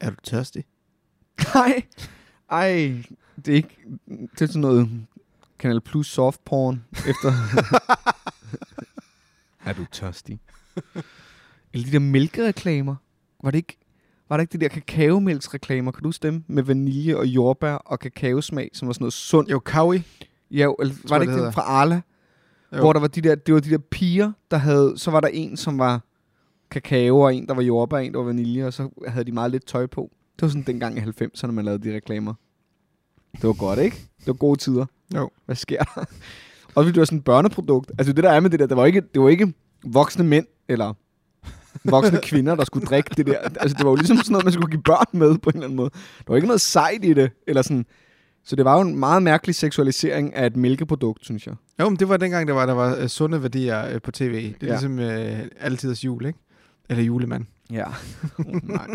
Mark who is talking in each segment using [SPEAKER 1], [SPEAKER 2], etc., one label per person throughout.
[SPEAKER 1] Er du tørstig?
[SPEAKER 2] Nej. Ej, det er ikke... Det er sådan noget Kanal Plus soft porn efter... er du tørstig? Eller de der mælkereklamer. Var det ikke... Var det ikke de der kakaomælksreklamer? Kan du huske dem? Med vanilje og jordbær og kakaosmag, som var sådan noget sundt.
[SPEAKER 1] Jo, kawi.
[SPEAKER 2] Ja, eller var
[SPEAKER 1] jeg,
[SPEAKER 2] det
[SPEAKER 1] det
[SPEAKER 2] ikke
[SPEAKER 1] hedder.
[SPEAKER 2] det fra Arla?
[SPEAKER 1] Jo.
[SPEAKER 2] Jo. Hvor der var de der, det var de der piger, der havde, så var der en, som var kakao, og en, der var jordbær, og en, der var vanilje, og så havde de meget lidt tøj på. Det var sådan dengang i 90'erne, man lavede de reklamer. Det var godt, ikke? Det var gode tider.
[SPEAKER 1] Jo.
[SPEAKER 2] Hvad sker der? Og fordi det var sådan et børneprodukt. Altså det der er med det der, det var ikke, det var ikke voksne mænd, eller voksne kvinder, der skulle drikke det der. Altså det var jo ligesom sådan noget, man skulle give børn med på en eller anden måde. Der var ikke noget sejt i det, eller sådan. Så det var jo en meget mærkelig seksualisering af et mælkeprodukt, synes jeg.
[SPEAKER 1] Jo, men det var dengang, der var, der var øh, sunde værdier øh, på tv. Det er ja.
[SPEAKER 2] Ja.
[SPEAKER 1] ligesom øh, altiders jul, ikke? Eller julemand.
[SPEAKER 2] Ja. Oh, nej,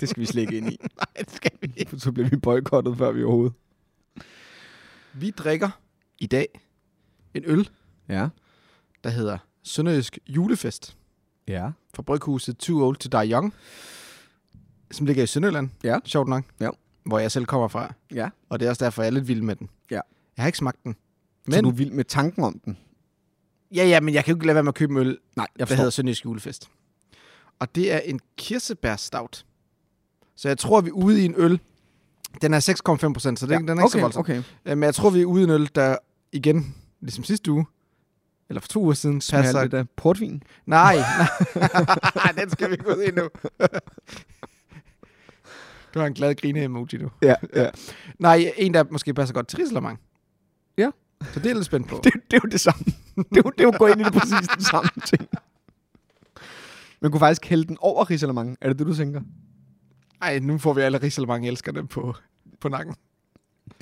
[SPEAKER 2] det skal vi slet ikke ind i.
[SPEAKER 1] Nej, det skal vi ikke.
[SPEAKER 2] Så bliver vi boykottet, før vi overhovedet.
[SPEAKER 1] Vi drikker i dag en øl,
[SPEAKER 2] Ja.
[SPEAKER 1] der hedder Sønderjysk Julefest
[SPEAKER 2] Ja.
[SPEAKER 1] fra bryghuset Too Old to Die Young, som ligger i Sønderjylland.
[SPEAKER 2] Ja.
[SPEAKER 1] Sjovt nok.
[SPEAKER 2] Ja.
[SPEAKER 1] Hvor jeg selv kommer fra.
[SPEAKER 2] Ja.
[SPEAKER 1] Og det er også derfor, jeg er lidt vild med den.
[SPEAKER 2] Ja.
[SPEAKER 1] Jeg har ikke smagt den.
[SPEAKER 2] Men... Så
[SPEAKER 1] Men,
[SPEAKER 2] du er vild med tanken om den?
[SPEAKER 1] ja, ja, men jeg kan jo ikke lade være med at købe en øl,
[SPEAKER 2] Nej,
[SPEAKER 1] der hedder Sønderjysk Julefest. Og det er en kirsebærstout. Så jeg tror, vi er ude i en øl. Den er 6,5 procent, så det, ja. den er ikke
[SPEAKER 2] okay,
[SPEAKER 1] så voldsom.
[SPEAKER 2] Okay.
[SPEAKER 1] Øh, Men jeg tror, vi er ude i en øl, der igen, ligesom sidste uge, eller for to uger siden,
[SPEAKER 2] Passer
[SPEAKER 1] passer...
[SPEAKER 2] lidt af portvin.
[SPEAKER 1] Nej, nej, den skal vi ikke ud i nu. du har en glad grine emoji nu.
[SPEAKER 2] Ja, ja.
[SPEAKER 1] Nej, en, der måske passer godt til risalemang.
[SPEAKER 2] Ja.
[SPEAKER 1] Så det er jeg lidt spændt på.
[SPEAKER 2] det, det er jo det samme. Det er jo, det er jo gå ind i det præcis den samme ting. Man kunne faktisk hælde den over Rizalemang. Er det det, du tænker?
[SPEAKER 1] Nej, nu får vi alle risalemang elskerne på, på nakken.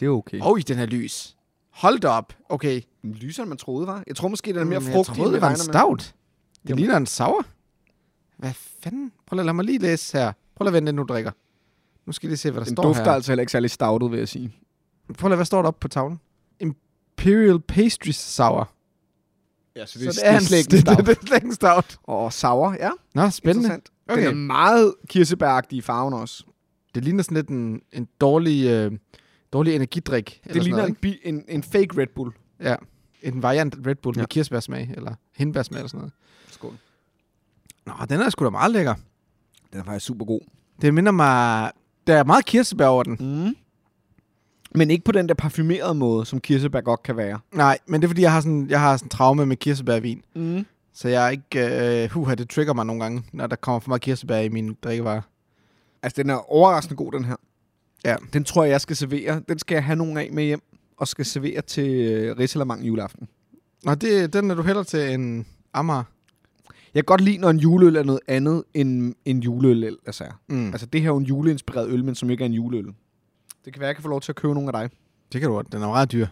[SPEAKER 2] Det er okay.
[SPEAKER 1] Og i den her lys. Hold da op. Okay.
[SPEAKER 2] lysere, end man troede, var. Jeg tror måske, den er
[SPEAKER 1] Men
[SPEAKER 2] mere
[SPEAKER 1] jeg
[SPEAKER 2] frugtig,
[SPEAKER 1] troede,
[SPEAKER 2] end vi
[SPEAKER 1] det var en
[SPEAKER 2] regner med.
[SPEAKER 1] stout. Det
[SPEAKER 2] Jamen.
[SPEAKER 1] ligner en sauer. Hvad fanden? Prøv lige at lade mig lige læse her. Prøv lige at vente, inden du drikker. Nu skal jeg lige se, hvad der
[SPEAKER 2] Den
[SPEAKER 1] står
[SPEAKER 2] dufter
[SPEAKER 1] her.
[SPEAKER 2] altså heller ikke særlig stoutet, vil jeg sige.
[SPEAKER 1] Prøv at lade, hvad står der oppe på tavlen? Imperial Pastry Sour.
[SPEAKER 2] Ja, så
[SPEAKER 1] det, det, det er slet ikke en stout.
[SPEAKER 2] Og sour, ja.
[SPEAKER 1] Nå, spændende.
[SPEAKER 2] Interessant. Okay. Den
[SPEAKER 1] Okay.
[SPEAKER 2] er meget kirsebæragtig i farven også.
[SPEAKER 1] Det ligner sådan lidt en, en dårlig, øh, dårlig energidrik. eller sådan
[SPEAKER 2] Det ligner
[SPEAKER 1] noget,
[SPEAKER 2] en, bi- en, en fake Red Bull.
[SPEAKER 1] ikke? Ja, en variant Red Bull ja.
[SPEAKER 2] Ja.
[SPEAKER 1] med kirsebærsmag, eller hindbærsmag, eller sådan noget.
[SPEAKER 2] Skål.
[SPEAKER 1] Nå, den er sgu da meget lækker.
[SPEAKER 2] Den er faktisk super god.
[SPEAKER 1] Det minder mig... Der er meget kirsebær over den.
[SPEAKER 2] Mm. Men ikke på den der parfumerede måde, som kirsebær godt kan være.
[SPEAKER 1] Nej, men det er fordi, jeg har sådan, jeg har sådan traume med kirsebærvin.
[SPEAKER 2] Mm.
[SPEAKER 1] Så jeg er ikke... Øh, huha, det trigger mig nogle gange, når der kommer for meget kirsebær i mine drikkevarer.
[SPEAKER 2] Altså, den er overraskende god, den her.
[SPEAKER 1] Ja.
[SPEAKER 2] Den tror jeg, jeg skal servere. Den skal jeg have nogen af med hjem, og skal servere til øh, Rissalermang juleaften.
[SPEAKER 1] Nå, det, den er du heller til en Amager.
[SPEAKER 2] Jeg kan godt lide, når en juleøl er noget andet end en juleøl ellers er.
[SPEAKER 1] Mm.
[SPEAKER 2] Altså, det her er jo en juleinspireret øl, men som ikke er en juleøl. Det kan være, jeg kan få lov til at købe nogle af dig.
[SPEAKER 1] Det kan du godt. Den er meget dyr.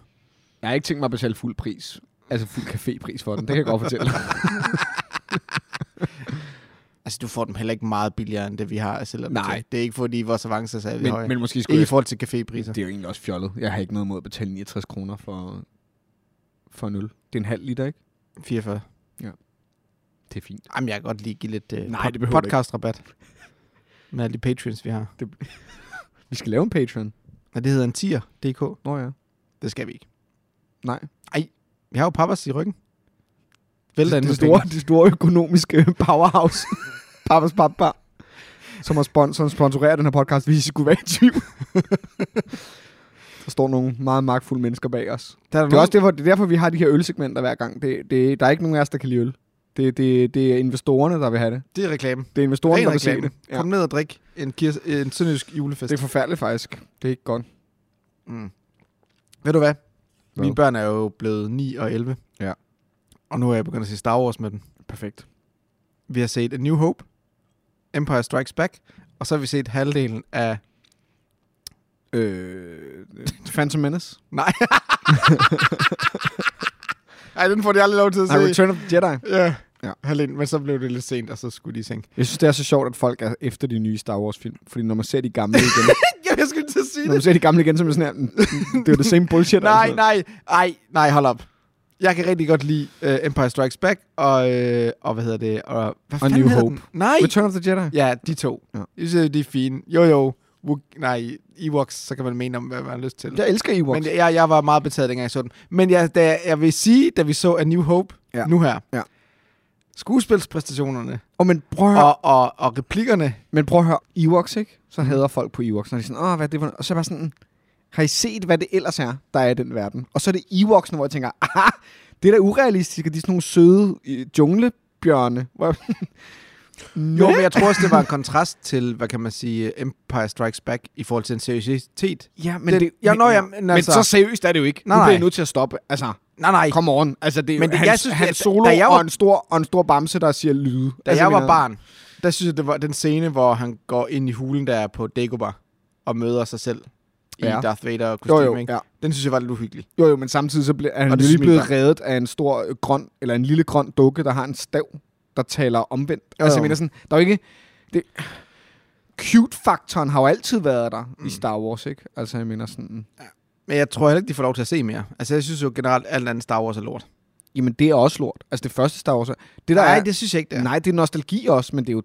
[SPEAKER 2] Jeg har ikke tænkt mig at betale fuld pris. Altså fuld cafépris for den, det kan jeg godt fortælle.
[SPEAKER 1] Altså, du får dem heller ikke meget billigere, end det vi har. Selvom
[SPEAKER 2] Nej.
[SPEAKER 1] Det, det er ikke fordi, vores avancer er særlig høje.
[SPEAKER 2] men, men måske skulle
[SPEAKER 1] ikke i
[SPEAKER 2] jeg...
[SPEAKER 1] forhold til cafépriser.
[SPEAKER 2] Det er jo egentlig også fjollet. Jeg har ikke noget mod at betale 69 kroner for, for en øl. Det er en halv liter, ikke?
[SPEAKER 1] 44.
[SPEAKER 2] Det er fint.
[SPEAKER 1] Jamen, jeg kan godt lige give lidt øh,
[SPEAKER 2] Nej,
[SPEAKER 1] pod-
[SPEAKER 2] det behøver du ikke.
[SPEAKER 1] podcast-rabat. med alle de patrons, vi har.
[SPEAKER 2] Vi skal lave en Patreon.
[SPEAKER 1] Ja, det hedder en tier.dk.
[SPEAKER 2] Nå ja.
[SPEAKER 1] Det skal vi ikke.
[SPEAKER 2] Nej.
[SPEAKER 1] Vi har jo pappas i ryggen. Vælter
[SPEAKER 2] Det,
[SPEAKER 1] ind
[SPEAKER 2] det,
[SPEAKER 1] med
[SPEAKER 2] store,
[SPEAKER 1] penge.
[SPEAKER 2] det store økonomiske powerhouse. Pappas Pappa. Som har sponsoren sponsorerer den her podcast, hvis I skulle være i tvivl. Der står nogle meget magtfulde mennesker bag os.
[SPEAKER 1] Der er,
[SPEAKER 2] Det er også derfor, det er derfor vi har de her ølsegmenter hver gang. Det, det, der er ikke nogen af os, der kan lide øl. Det, det, det er investorerne, der vil have det.
[SPEAKER 1] det er reklame.
[SPEAKER 2] Det er investorerne,
[SPEAKER 1] Ren
[SPEAKER 2] der vil se
[SPEAKER 1] reklame.
[SPEAKER 2] det.
[SPEAKER 1] Ja. Kom ned og drik en, kirs, en sønderjysk julefest.
[SPEAKER 2] Det er forfærdeligt faktisk. Det er ikke godt.
[SPEAKER 1] Mm. Ved du hvad?
[SPEAKER 2] Hvad?
[SPEAKER 1] Mine børn er jo blevet 9 og 11.
[SPEAKER 2] Ja.
[SPEAKER 1] Og nu er jeg begyndt at se Star Wars med dem.
[SPEAKER 2] Perfekt.
[SPEAKER 1] Vi har set A New Hope, Empire Strikes Back, og så har vi set halvdelen af...
[SPEAKER 2] Øh, Phantom Menace.
[SPEAKER 1] Nej. Ej, den får de aldrig lov til at
[SPEAKER 2] Nej,
[SPEAKER 1] se.
[SPEAKER 2] Return of the Jedi.
[SPEAKER 1] Ja.
[SPEAKER 2] Ja.
[SPEAKER 1] ja, halvdelen. Men så blev det lidt sent, og så skulle de i seng.
[SPEAKER 2] Jeg synes, det er så sjovt, at folk er efter de nye Star Wars-film. Fordi når man ser de gamle igen,
[SPEAKER 1] Ja, jeg skulle til at sige
[SPEAKER 2] når man ser de gamle igen, så er man sådan her, "Mm, det er jo det same bullshit.
[SPEAKER 1] Nej,
[SPEAKER 2] altså."
[SPEAKER 1] nej, nej, nej, hold op. Jeg kan rigtig godt lide uh, Empire Strikes Back og, uh, og hvad hedder det? Og, hvad
[SPEAKER 2] Og
[SPEAKER 1] fanden
[SPEAKER 2] New
[SPEAKER 1] hedder
[SPEAKER 2] Hope.
[SPEAKER 1] Den? Nej.
[SPEAKER 2] Return of the Jedi.
[SPEAKER 1] Ja, de to.
[SPEAKER 2] Ja.
[SPEAKER 1] Ja. Jeg synes, de er fine. Jo, jo. Wookie, nej, Ewoks, så kan man mene om, hvad man har lyst til.
[SPEAKER 2] Jeg elsker Ewoks.
[SPEAKER 1] Men jeg, jeg var meget betaget, dengang jeg så den. Men jeg, da jeg, jeg vil sige, da vi så A New Hope
[SPEAKER 2] Ja.
[SPEAKER 1] ja. nu her,
[SPEAKER 2] Ja.
[SPEAKER 1] skuespilspræstationerne
[SPEAKER 2] Og men prøv at høre,
[SPEAKER 1] og, og, og replikkerne,
[SPEAKER 2] Men prøv at høre, Ewoks, ikke? Så hader folk på Ewoks, når de er sådan, åh, hvad er det for noget?" Og så er jeg bare sådan, har I set, hvad det ellers er, der er i den verden? Og så er det Ewoks, hvor jeg tænker, aha, det er da urealistisk, at de er sådan nogle søde øh, junglebjørne. Hvor jeg...
[SPEAKER 1] jo, men jeg tror også, det var en kontrast til, hvad kan man sige, Empire Strikes Back i forhold til en seriøsitet.
[SPEAKER 2] Ja, men
[SPEAKER 1] Den-
[SPEAKER 2] det,
[SPEAKER 1] Ja,
[SPEAKER 2] men,
[SPEAKER 1] nå, ja, men altså-
[SPEAKER 2] men så seriøst er det jo ikke.
[SPEAKER 1] Nej,
[SPEAKER 2] nu bliver jeg
[SPEAKER 1] nej.
[SPEAKER 2] nødt til at stoppe. Altså,
[SPEAKER 1] Nej, nej.
[SPEAKER 2] come on. Altså, det er
[SPEAKER 1] Men det-
[SPEAKER 2] men det, hans,
[SPEAKER 1] jeg synes,
[SPEAKER 2] synes, hans
[SPEAKER 1] at-
[SPEAKER 2] solo
[SPEAKER 1] da jeg var-
[SPEAKER 2] og, en stor, og en stor bamse, der siger lyde.
[SPEAKER 1] Da
[SPEAKER 2] altså,
[SPEAKER 1] jeg var
[SPEAKER 2] mener-
[SPEAKER 1] barn, der synes jeg, det var den scene, hvor han går ind i hulen, der er på Dagobah, og møder sig selv i
[SPEAKER 2] Ja.
[SPEAKER 1] Darth Vader
[SPEAKER 2] Jo,
[SPEAKER 1] kostume,
[SPEAKER 2] jo,
[SPEAKER 1] ikke?
[SPEAKER 2] ja.
[SPEAKER 1] Den synes jeg var lidt uhyggelig.
[SPEAKER 2] Jo, jo, men samtidig så ble, er han
[SPEAKER 1] Og det
[SPEAKER 2] jo lige
[SPEAKER 1] smitter.
[SPEAKER 2] blevet reddet af en stor øh, grøn, eller en lille grøn dukke, der har en stav, der taler omvendt. Jo, altså,
[SPEAKER 1] jo.
[SPEAKER 2] jeg mener sådan, der er jo ikke... Det, Cute-faktoren har jo altid været der mm. i Star Wars, ikke? Altså, jeg mener sådan...
[SPEAKER 1] Men jeg tror heller ikke, de får lov til at se mere. Altså, jeg synes jo generelt, alt andet Star Wars er lort.
[SPEAKER 2] Jamen, det er også lort. Altså, det første Star Wars... er- Det, der
[SPEAKER 1] Nej,
[SPEAKER 2] er,
[SPEAKER 1] det synes jeg ikke, det er.
[SPEAKER 2] Nej, det er nostalgi også, men det er jo...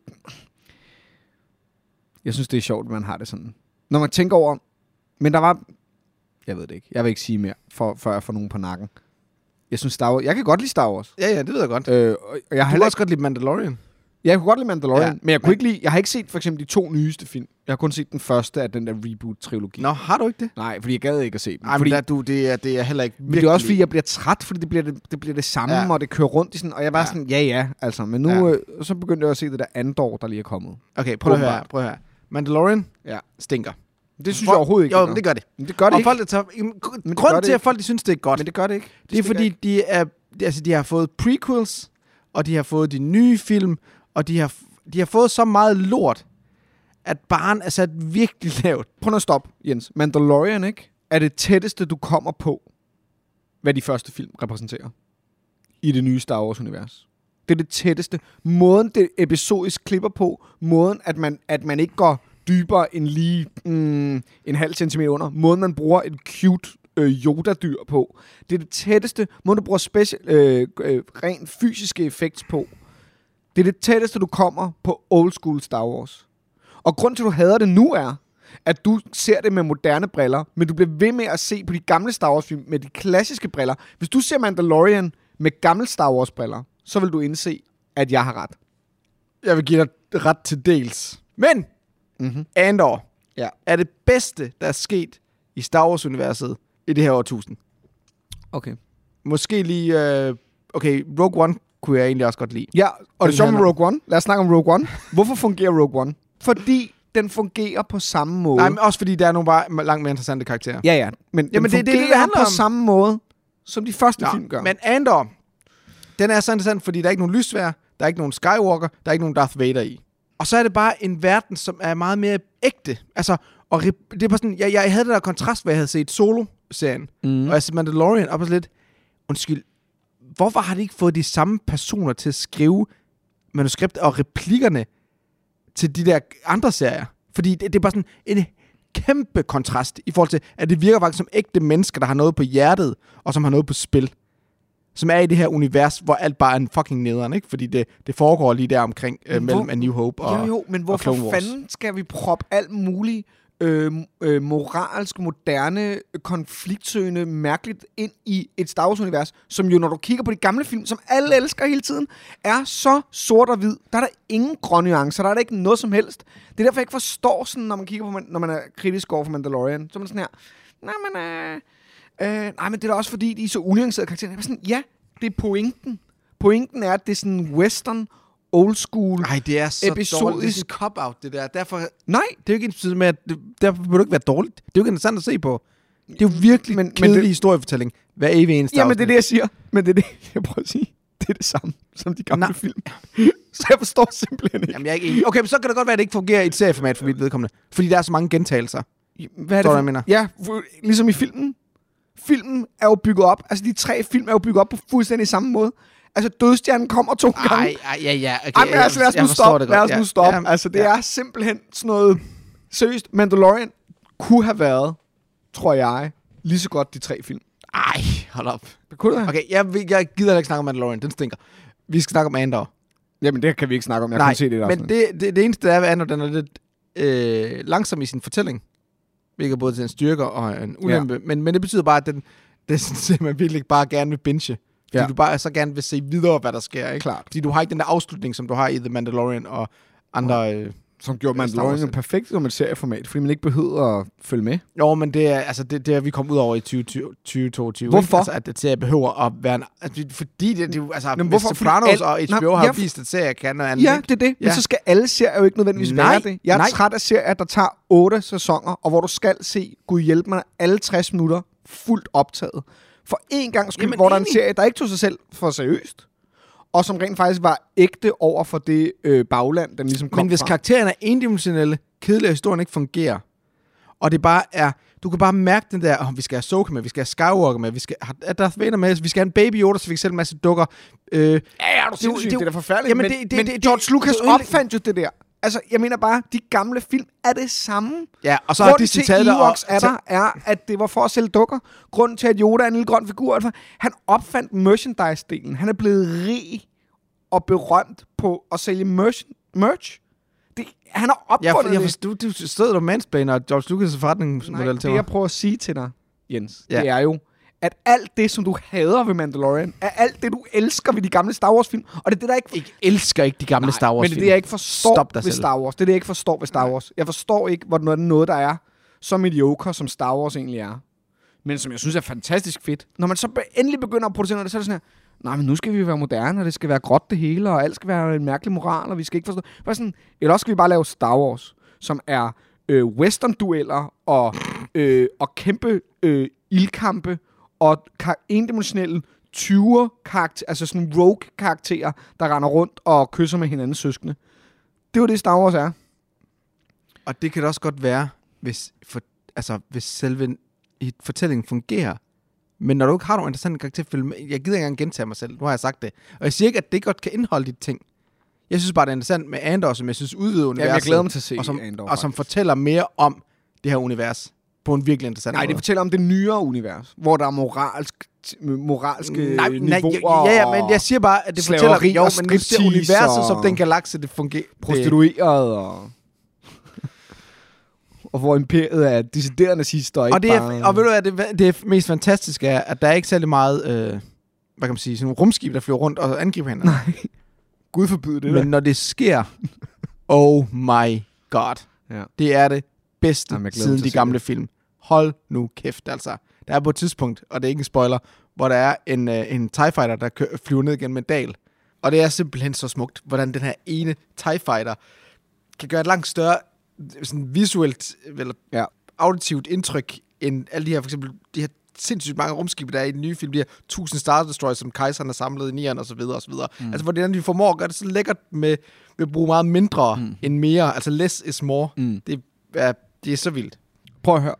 [SPEAKER 2] Jeg synes, det er sjovt, at man har det sådan. Når man tænker over... Men der var... Jeg ved det ikke. Jeg vil ikke sige mere, for, før jeg får nogen på nakken. Jeg synes Star Wars... Jeg kan godt lide Star Wars.
[SPEAKER 1] Ja, ja, det ved jeg godt.
[SPEAKER 2] Øh, og jeg har
[SPEAKER 1] Du kan
[SPEAKER 2] heller
[SPEAKER 1] også godt lide Mandalorian.
[SPEAKER 2] Ja, jeg kunne godt lide Mandalorian,
[SPEAKER 1] Ja,
[SPEAKER 2] ja, men jeg kunne ikke lide, jeg har ikke set for eksempel de to nyeste film. Jeg har kun set den første af den der reboot-trilogi.
[SPEAKER 1] Nå, har du ikke det?
[SPEAKER 2] Nej, fordi jeg gad ikke at se den.
[SPEAKER 1] Nej,
[SPEAKER 2] fordi,
[SPEAKER 1] men der, du, det, er, det er heller ikke
[SPEAKER 2] men det er også fordi, jeg bliver træt, fordi det bliver det, det, bliver det samme,
[SPEAKER 1] Ja.
[SPEAKER 2] ja. og det kører rundt i sådan, og jeg var
[SPEAKER 1] Ja.
[SPEAKER 2] ja. sådan, ja ja, altså. Men nu,
[SPEAKER 1] Ja.
[SPEAKER 2] ja. øh, så begyndte jeg at se det der Andor, der lige er kommet.
[SPEAKER 1] Okay, prøv at høre,
[SPEAKER 2] Åbenbart.
[SPEAKER 1] her, prøv at høre. Mandalorian
[SPEAKER 2] Ja.
[SPEAKER 1] stinker.
[SPEAKER 2] Det synes
[SPEAKER 1] Hvor-
[SPEAKER 2] jeg overhovedet ikke.
[SPEAKER 1] Jo, men det gør det.
[SPEAKER 2] men det gør det
[SPEAKER 1] og
[SPEAKER 2] ikke.
[SPEAKER 1] folk, der tager, jamen, gr-
[SPEAKER 2] det gør
[SPEAKER 1] grunden
[SPEAKER 2] det
[SPEAKER 1] til, at
[SPEAKER 2] ikke.
[SPEAKER 1] folk de synes, det er godt,
[SPEAKER 2] Men det gør det ikke.
[SPEAKER 1] det er
[SPEAKER 2] stikker
[SPEAKER 1] fordi,
[SPEAKER 2] ikke.
[SPEAKER 1] de, er, altså, de har fået prequels, og de har fået de nye film, og de har, f- de har fået så meget lort, at barn er sat virkelig lavt.
[SPEAKER 2] Prøv nu at stoppe, Jens. Mandalorian, ikke? Er det tætteste, du kommer på, hvad de første film repræsenterer i det nye Star Wars-univers. Det er det tætteste. Måden, det episodisk klipper på, måden, at man, at man ikke går dybere end lige mm, en halv centimeter under, måden, man bruger et cute øh, Yoda-dyr på, det er det tætteste, måden, du bruger special, øh, øh, rent fysiske effekter på, det er det tætteste, du kommer på old school Star Wars. Og grund til, at du hader det nu er, at du ser det med moderne briller, men du bliver ved med at se på de gamle Star Wars-film med de klassiske briller. Hvis du ser Mandalorian med gamle Star Wars-briller, så vil du indse, at jeg har ret.
[SPEAKER 1] Jeg vil give dig ret til dels. Men mm-hmm. Andor
[SPEAKER 2] Ja.
[SPEAKER 1] er det bedste, der er sket i Star Wars-universet i det her årtusind.
[SPEAKER 2] Okay.
[SPEAKER 1] Måske lige... Øh, okay, Rogue One kunne jeg egentlig også godt lide.
[SPEAKER 2] Ja, og
[SPEAKER 1] Den
[SPEAKER 2] det sjove med
[SPEAKER 1] handler-
[SPEAKER 2] Rogue One. Lad os snakke om Rogue One. Hvorfor fungerer Rogue One? Fordi den fungerer på samme måde.
[SPEAKER 1] Nej, men også fordi der er nogle bare langt mere interessante karakterer.
[SPEAKER 2] ja, ja. Men
[SPEAKER 1] Jamen, det
[SPEAKER 2] Jamen, den
[SPEAKER 1] er det, det
[SPEAKER 2] det, fungerer det, det,
[SPEAKER 1] handler
[SPEAKER 2] på
[SPEAKER 1] om.
[SPEAKER 2] samme måde, som de første Nå, film gør.
[SPEAKER 1] men Andor, den er så interessant, fordi der er ikke nogen lysvær, der er ikke nogen Skywalker, der er ikke nogen Darth Vader i. Og så er det bare en verden, som er meget mere ægte. Altså, og rep- det er bare sådan, jeg, jeg havde det der kontrast, hvor jeg havde set Solo-serien,
[SPEAKER 2] Mhm.
[SPEAKER 1] mm. og jeg set Mandalorian, op og sådan lidt, undskyld, hvorfor har de ikke fået de samme personer til at skrive manuskript og replikkerne til de der andre serier? Fordi det, det er bare sådan en kæmpe kontrast i forhold til, at det virker faktisk som ægte mennesker, der har noget på hjertet, og som har noget på spil. Som er i det her univers, hvor alt bare er en fucking nederen, ikke? Fordi det, det foregår lige der omkring øh,
[SPEAKER 2] Men hvor-
[SPEAKER 1] mellem A New Hope og...
[SPEAKER 2] Jo, jo, men hvorfor
[SPEAKER 1] Clone Wars.
[SPEAKER 2] fanden skal vi proppe alt muligt øh, øh, moralsk, moderne, konfliktsøgende, mærkeligt ind i et Star Wars-univers, som jo, når du kigger på de gamle film, som alle elsker hele tiden, er så sort og hvid. Der er der ingen grønne nuancer, der er der ikke noget som helst. Det er derfor, jeg ikke forstår sådan, når man kigger på, man- når man er kritisk over for Mandalorian, så er man sådan her, nej, men, øh, øh, nej, men det er da også fordi, de er så unuancerede karakterer. Jeg er sådan, ja, det er pointen. Pointen er, at det er sådan western, old school,
[SPEAKER 1] Ej, det er så
[SPEAKER 2] Episodisk.
[SPEAKER 1] dårligt. Det er sådan en cop-out, det der. Derfor, det
[SPEAKER 2] Nej,
[SPEAKER 1] er jo ikke en betydelse med, at det, derfor vil det ikke være dårligt. Det er jo ikke interessant at se på. Det er jo virkelig men,
[SPEAKER 2] Men- men
[SPEAKER 1] kedelig
[SPEAKER 2] det-
[SPEAKER 1] historiefortælling. Hver evig eneste
[SPEAKER 2] Jamen, det er
[SPEAKER 1] afsnit.
[SPEAKER 2] det, jeg siger. Men det er det, jeg prøver at sige. Det er det samme som de gamle
[SPEAKER 1] Nej.
[SPEAKER 2] Nej. film. Så jeg forstår simpelthen ikke.
[SPEAKER 1] Jamen, jeg er ikke enig. Okay, men så kan det godt være, at det ikke fungerer i et serieformat for mit vedkommende. Fordi der er så mange gentagelser.
[SPEAKER 2] Hvad er
[SPEAKER 1] Forstår du,
[SPEAKER 2] for-
[SPEAKER 1] hvad jeg mener?
[SPEAKER 2] Ja, fu- ligesom i filmen. Filmen er jo bygget op. Altså, de tre film er jo bygget op på fuldstændig samme måde. Altså, Dødstjernen kommer to gange.
[SPEAKER 1] Nej, ja, ja. Okay,
[SPEAKER 2] Ej, men altså, lad os nu stoppe. Lad os nu stoppe.
[SPEAKER 1] Ja,
[SPEAKER 2] altså, det
[SPEAKER 1] ja.
[SPEAKER 2] er simpelthen sådan noget... Seriøst, Mandalorian kunne have været, tror jeg, lige så godt de tre film.
[SPEAKER 1] Ej, hold op.
[SPEAKER 2] Det kunne det have.
[SPEAKER 1] Okay, jeg, vil- jeg gider heller ikke snakke om Mandalorian. Den stinker. Vi skal snakke om Andor.
[SPEAKER 2] Jamen, det kan vi ikke snakke om. Jeg
[SPEAKER 1] Nej,
[SPEAKER 2] kan se det der.
[SPEAKER 1] men det, det, det eneste, der er ved Andor, den er lidt øh, langsom i sin fortælling, hvilket både til en styrke og en ulempe, ja. men, men det betyder bare, at den, den simpelthen virkelig bare gerne vil binge. Fordi ja.
[SPEAKER 2] Ja.
[SPEAKER 1] du bare så gerne vil se videre, hvad der sker. Ikke?
[SPEAKER 2] Klart.
[SPEAKER 1] Fordi du har ikke den der afslutning, som du har i The Mandalorian og andre... Øh,
[SPEAKER 2] Som gjorde
[SPEAKER 1] Ja, Star Wars
[SPEAKER 2] Mandalorian jo
[SPEAKER 1] selv.
[SPEAKER 2] perfekt som et serieformat, fordi man ikke behøver at følge med.
[SPEAKER 1] Jo, men det er, altså, det, det er vi kommet ud over i 2020, 2022.
[SPEAKER 2] Hvorfor?
[SPEAKER 1] ikke? Altså, at det serie behøver at være en... Altså, det- fordi det, det, er jo- altså,
[SPEAKER 2] Jamen,
[SPEAKER 1] Jamen,
[SPEAKER 2] hvorfor?
[SPEAKER 1] hvorfor?
[SPEAKER 2] Fordi
[SPEAKER 1] Sopranos
[SPEAKER 2] alt-
[SPEAKER 1] og
[SPEAKER 2] Nå,
[SPEAKER 1] HBO har
[SPEAKER 2] ja,
[SPEAKER 1] ja,
[SPEAKER 2] for-
[SPEAKER 1] vist, at serier kan og andet.
[SPEAKER 2] Ja,
[SPEAKER 1] ikke?
[SPEAKER 2] det er det. Men
[SPEAKER 1] Ja.
[SPEAKER 2] så skal alle serier jo ikke nødvendigvis
[SPEAKER 1] Nej,
[SPEAKER 2] være det. Jeg er
[SPEAKER 1] nej.
[SPEAKER 2] træt af serier, der tager otte sæsoner, og hvor du skal se, gud hjælp mig, alle 60 minutter fuldt optaget. For én gang skyld,
[SPEAKER 1] Jamen,
[SPEAKER 2] hvor der er en
[SPEAKER 1] enig.
[SPEAKER 2] serie, der ikke tog sig selv for seriøst, og som rent faktisk var ægte over for det øh, bagland, den ligesom kom
[SPEAKER 1] Men hvis
[SPEAKER 2] fra.
[SPEAKER 1] karaktererne er endimensionelle, kedelig og historien ikke fungerer, og det bare er... Du kan bare mærke den der, oh, vi skal have Soka med, vi skal have Skywalker med, vi skal have Darth Vader med, vi skal have en baby Yoda, så vi kan sælge en masse dukker. Øh,
[SPEAKER 2] Ja, ja, er du
[SPEAKER 1] Det er jo- det
[SPEAKER 2] sindssygt.
[SPEAKER 1] er
[SPEAKER 2] Det,
[SPEAKER 1] jo-
[SPEAKER 2] det er da forfærdeligt.
[SPEAKER 1] Jamen,
[SPEAKER 2] men,
[SPEAKER 1] det- det-
[SPEAKER 2] men
[SPEAKER 1] det- det-
[SPEAKER 2] George Lucas
[SPEAKER 1] det er jo egentlig-
[SPEAKER 2] opfandt jo det der. Altså, jeg mener bare, de gamle film er det samme.
[SPEAKER 1] ja, og så er
[SPEAKER 2] Grunden
[SPEAKER 1] de
[SPEAKER 2] til
[SPEAKER 1] citater... og-
[SPEAKER 2] Ewoks er der, er, at det var for at sælge dukker. Grunden til, at Yoda er en lille grøn figur, altså, han opfandt merchandise-delen. Han er blevet rig og berømt på at sælge merch. merch. Det, han har
[SPEAKER 1] Ja,
[SPEAKER 2] opfundet
[SPEAKER 1] for, jeg
[SPEAKER 2] det.
[SPEAKER 1] forstod, du, du stod der mansplaner George Lucas' forretningsmodel
[SPEAKER 2] Nej,
[SPEAKER 1] til
[SPEAKER 2] det
[SPEAKER 1] mig.
[SPEAKER 2] jeg prøver at sige til dig, Jens,
[SPEAKER 1] Ja.
[SPEAKER 2] ja. det er jo, at alt det, som du hader ved Mandalorian, er alt det, du elsker ved de gamle Star Wars-film, og det er det, der ikke
[SPEAKER 1] ikke elsker ikke de gamle
[SPEAKER 2] Nej,
[SPEAKER 1] Star Wars
[SPEAKER 2] Men det er det, jeg ikke forstår
[SPEAKER 1] Stop dig
[SPEAKER 2] ved
[SPEAKER 1] selv.
[SPEAKER 2] Star Wars. Det er det, jeg ikke forstår ved Star Wars. Jeg forstår ikke, hvor noget, noget der er så mediocre, som Star Wars egentlig er. Men som jeg synes er fantastisk fedt. Når man så be- endelig begynder at producere noget, så er det sådan her, nej, men nu skal vi være moderne, og det skal være gråt det hele, og alt skal være en mærkelig moral, og vi skal ikke forstå... Bare sådan, eller også skal vi bare lave Star Wars, som er øh, western-dueller og, øh, og kæmpe øh, ildkampe og kar- endimensionelle 20 karakter, altså sådan rogue-karakterer, der render rundt og kysser med hinandens søskende. Det er jo det, Star Wars er.
[SPEAKER 1] Og det kan det også godt være, hvis, for, altså, hvis selve i- fortællingen fungerer. Men når du ikke har nogen interessante karakter, følg med. jeg gider ikke engang gentage mig selv, nu har jeg sagt det. Og jeg siger ikke, at det ikke godt kan indeholde de ting. Jeg synes bare, det er interessant med Andor, som jeg synes udvider universet.
[SPEAKER 2] glæder mig til at se
[SPEAKER 1] og som,
[SPEAKER 2] Andor,
[SPEAKER 1] Og som
[SPEAKER 2] faktisk.
[SPEAKER 1] fortæller mere om det her univers på en virkelig interessant
[SPEAKER 2] Nej,
[SPEAKER 1] måde.
[SPEAKER 2] det fortæller om det nyere univers, hvor der er moralsk, moralske nej, øh, niveauer
[SPEAKER 1] ja, ja, men jeg siger bare, at det fortæller
[SPEAKER 2] slaveri
[SPEAKER 1] jo,
[SPEAKER 2] og
[SPEAKER 1] men du ser
[SPEAKER 2] striptease
[SPEAKER 1] universet
[SPEAKER 2] og-
[SPEAKER 1] som den galakse, det fungerer.
[SPEAKER 2] og prostitueret og... og hvor imperiet er deciderende nazister, ikke
[SPEAKER 1] og, det er,
[SPEAKER 2] bare...
[SPEAKER 1] og ved du hvad, det, det mest fantastiske er, at der er ikke særlig meget, øh, hvad kan man sige, sådan nogle rumskib, der flyver rundt og angriber hinanden.
[SPEAKER 2] Nej. Gud forbyde det,
[SPEAKER 1] Men når det sker, oh my god.
[SPEAKER 2] Ja.
[SPEAKER 1] Det er det bedste Jamen,
[SPEAKER 2] Jamen, jeg glæder mig
[SPEAKER 1] siden
[SPEAKER 2] til
[SPEAKER 1] de
[SPEAKER 2] at se
[SPEAKER 1] gamle film. Hold nu kæft, altså. Der er på et tidspunkt, og det er ikke en spoiler, hvor der er en, øh, en TIE Fighter, der kø- flyver ned gennem en dal. Og det er simpelthen så smukt, hvordan den her ene TIE Fighter kan gøre et langt større øh, sådan visuelt eller
[SPEAKER 2] Ja.
[SPEAKER 1] auditivt indtryk, end alle de her, for eksempel, de her sindssygt mange rumskibe, der er i den nye film, de her 1000 Star Destroyers, som kejseren har samlet i nieren, og så videre, og så videre. Mm. Altså, hvordan de formår at gøre det så lækkert med, ved at bruge meget mindre mm. end mere. Altså, less is more. Mm. Det, er, det er så vildt.
[SPEAKER 2] Prøv at høre.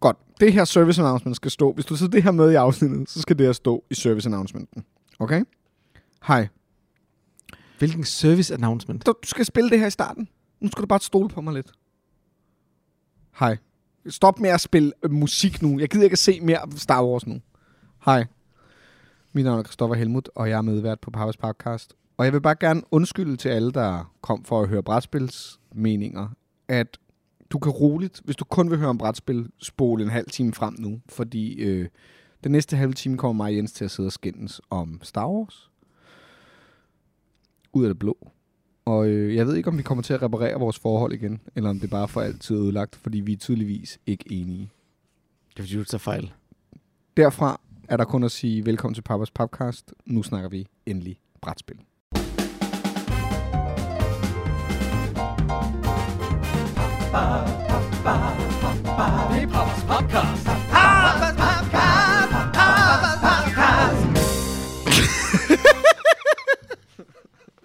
[SPEAKER 2] Godt. Det her service announcement skal stå. Hvis du sidder det her med i afsnittet, så skal det her stå i service announcementen. Okay? Hej.
[SPEAKER 1] Hvilken service announcement.
[SPEAKER 2] Du, du skal spille det her i starten. Nu skal du bare stole på mig lidt. Hej. Stop med at spille øh, musik nu. Jeg gider ikke at se mere Star Wars nu. Hej. Mit navn er Christoffer Helmut, og jeg er medvært på Papas Podcast. Og jeg vil bare gerne undskylde til alle, der kom for at høre brætspilsmeninger, at du kan roligt, hvis du kun vil høre om brætspil, spole en halv time frem nu, fordi øh, den næste halve time kommer mig og Jens til at sidde og skændes om Star Wars. Ud af det blå. Og øh, jeg ved ikke, om vi kommer til at reparere vores forhold igen, eller om det bare for altid er ødelagt, fordi vi er tydeligvis ikke enige.
[SPEAKER 1] Det er fordi, du tager fejl.
[SPEAKER 2] Derfra er der kun at sige velkommen til Papas Podcast. Nu snakker vi endelig brætspil.